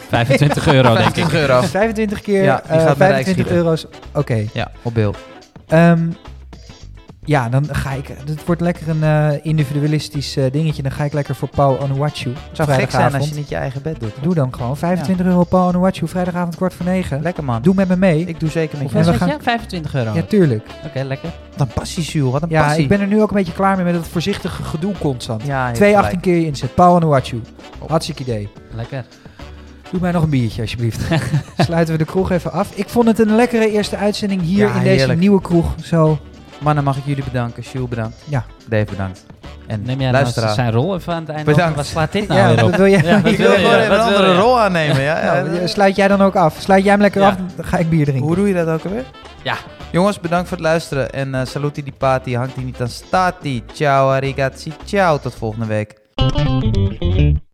Speaker 2: 25 euro denk ik.
Speaker 3: euro.
Speaker 1: 25 Dus keer
Speaker 3: Ja, die
Speaker 1: eh,
Speaker 3: gaat naar de
Speaker 1: 25
Speaker 3: Rijksgieten.
Speaker 1: euro's. Oké.
Speaker 3: Ja, op Bill.
Speaker 1: Ehm, ja, dan ga ik... Het wordt lekker een eh, individualistisch eh, dingetje. Dan ga ik lekker voor Paul Onuachu.
Speaker 3: Het zou gek zijn als je niet je eigen bed doet.
Speaker 1: Doe dan gewoon. 25 euro Paul Onuachu, vrijdagavond kwart voor negen.
Speaker 3: Lekker man.
Speaker 1: Doe met me mee.
Speaker 3: Ik doe zeker met
Speaker 1: En
Speaker 2: Hoeveel
Speaker 1: we
Speaker 2: zet
Speaker 3: je.
Speaker 1: gaan-
Speaker 2: je? 25 euro.
Speaker 1: Ja, tuurlijk.
Speaker 2: Oké, lekker.
Speaker 3: Wat een passie, Sjoel. Wat een
Speaker 1: Ja,
Speaker 3: passie.
Speaker 1: ik ben er nu ook een beetje klaar mee met dat voorzichtige gedoe constant.
Speaker 3: Ja, je hebt
Speaker 1: 2,18
Speaker 3: gelijk.
Speaker 1: keer je inzet. Paul Anuachu. Hartstikke idee.
Speaker 2: Lekker.
Speaker 1: Doe mij nog een biertje, alsjeblieft. Sluiten we de kroeg even af. Ik vond het een lekkere eerste uitzending hier in
Speaker 3: Ja,
Speaker 1: deze
Speaker 3: heerlijk. Nou,
Speaker 1: nieuwe kroeg. Zo,
Speaker 3: Mannen, mag ik jullie bedanken. Jules, bedankt.
Speaker 1: Ja.
Speaker 3: Dave, bedankt. En
Speaker 2: Neem jij nou
Speaker 3: luisteraar.
Speaker 2: zijn rol even aan het einde
Speaker 3: Bedankt.
Speaker 2: op? Wat slaat dit nou
Speaker 1: ja,
Speaker 2: weer
Speaker 1: dat
Speaker 2: op?
Speaker 1: wil jij.
Speaker 2: Ja, wat
Speaker 3: Ik wil
Speaker 2: wil
Speaker 3: gewoon
Speaker 2: je?
Speaker 3: even een
Speaker 2: Wat wil
Speaker 3: andere
Speaker 2: je?
Speaker 3: rol aannemen. Ja, ja,
Speaker 1: Nou, sluit jij dan ook af. Sluit jij hem lekker
Speaker 2: Ja.
Speaker 1: af, dan ga ik bier drinken.
Speaker 3: Hoe doe je dat ook alweer?
Speaker 2: Ja.
Speaker 3: Jongens, bedankt voor het luisteren. En eh, saluti di pati, hangt die niet aan stati. Ciao, arrigazzi, ciao. Tot volgende week.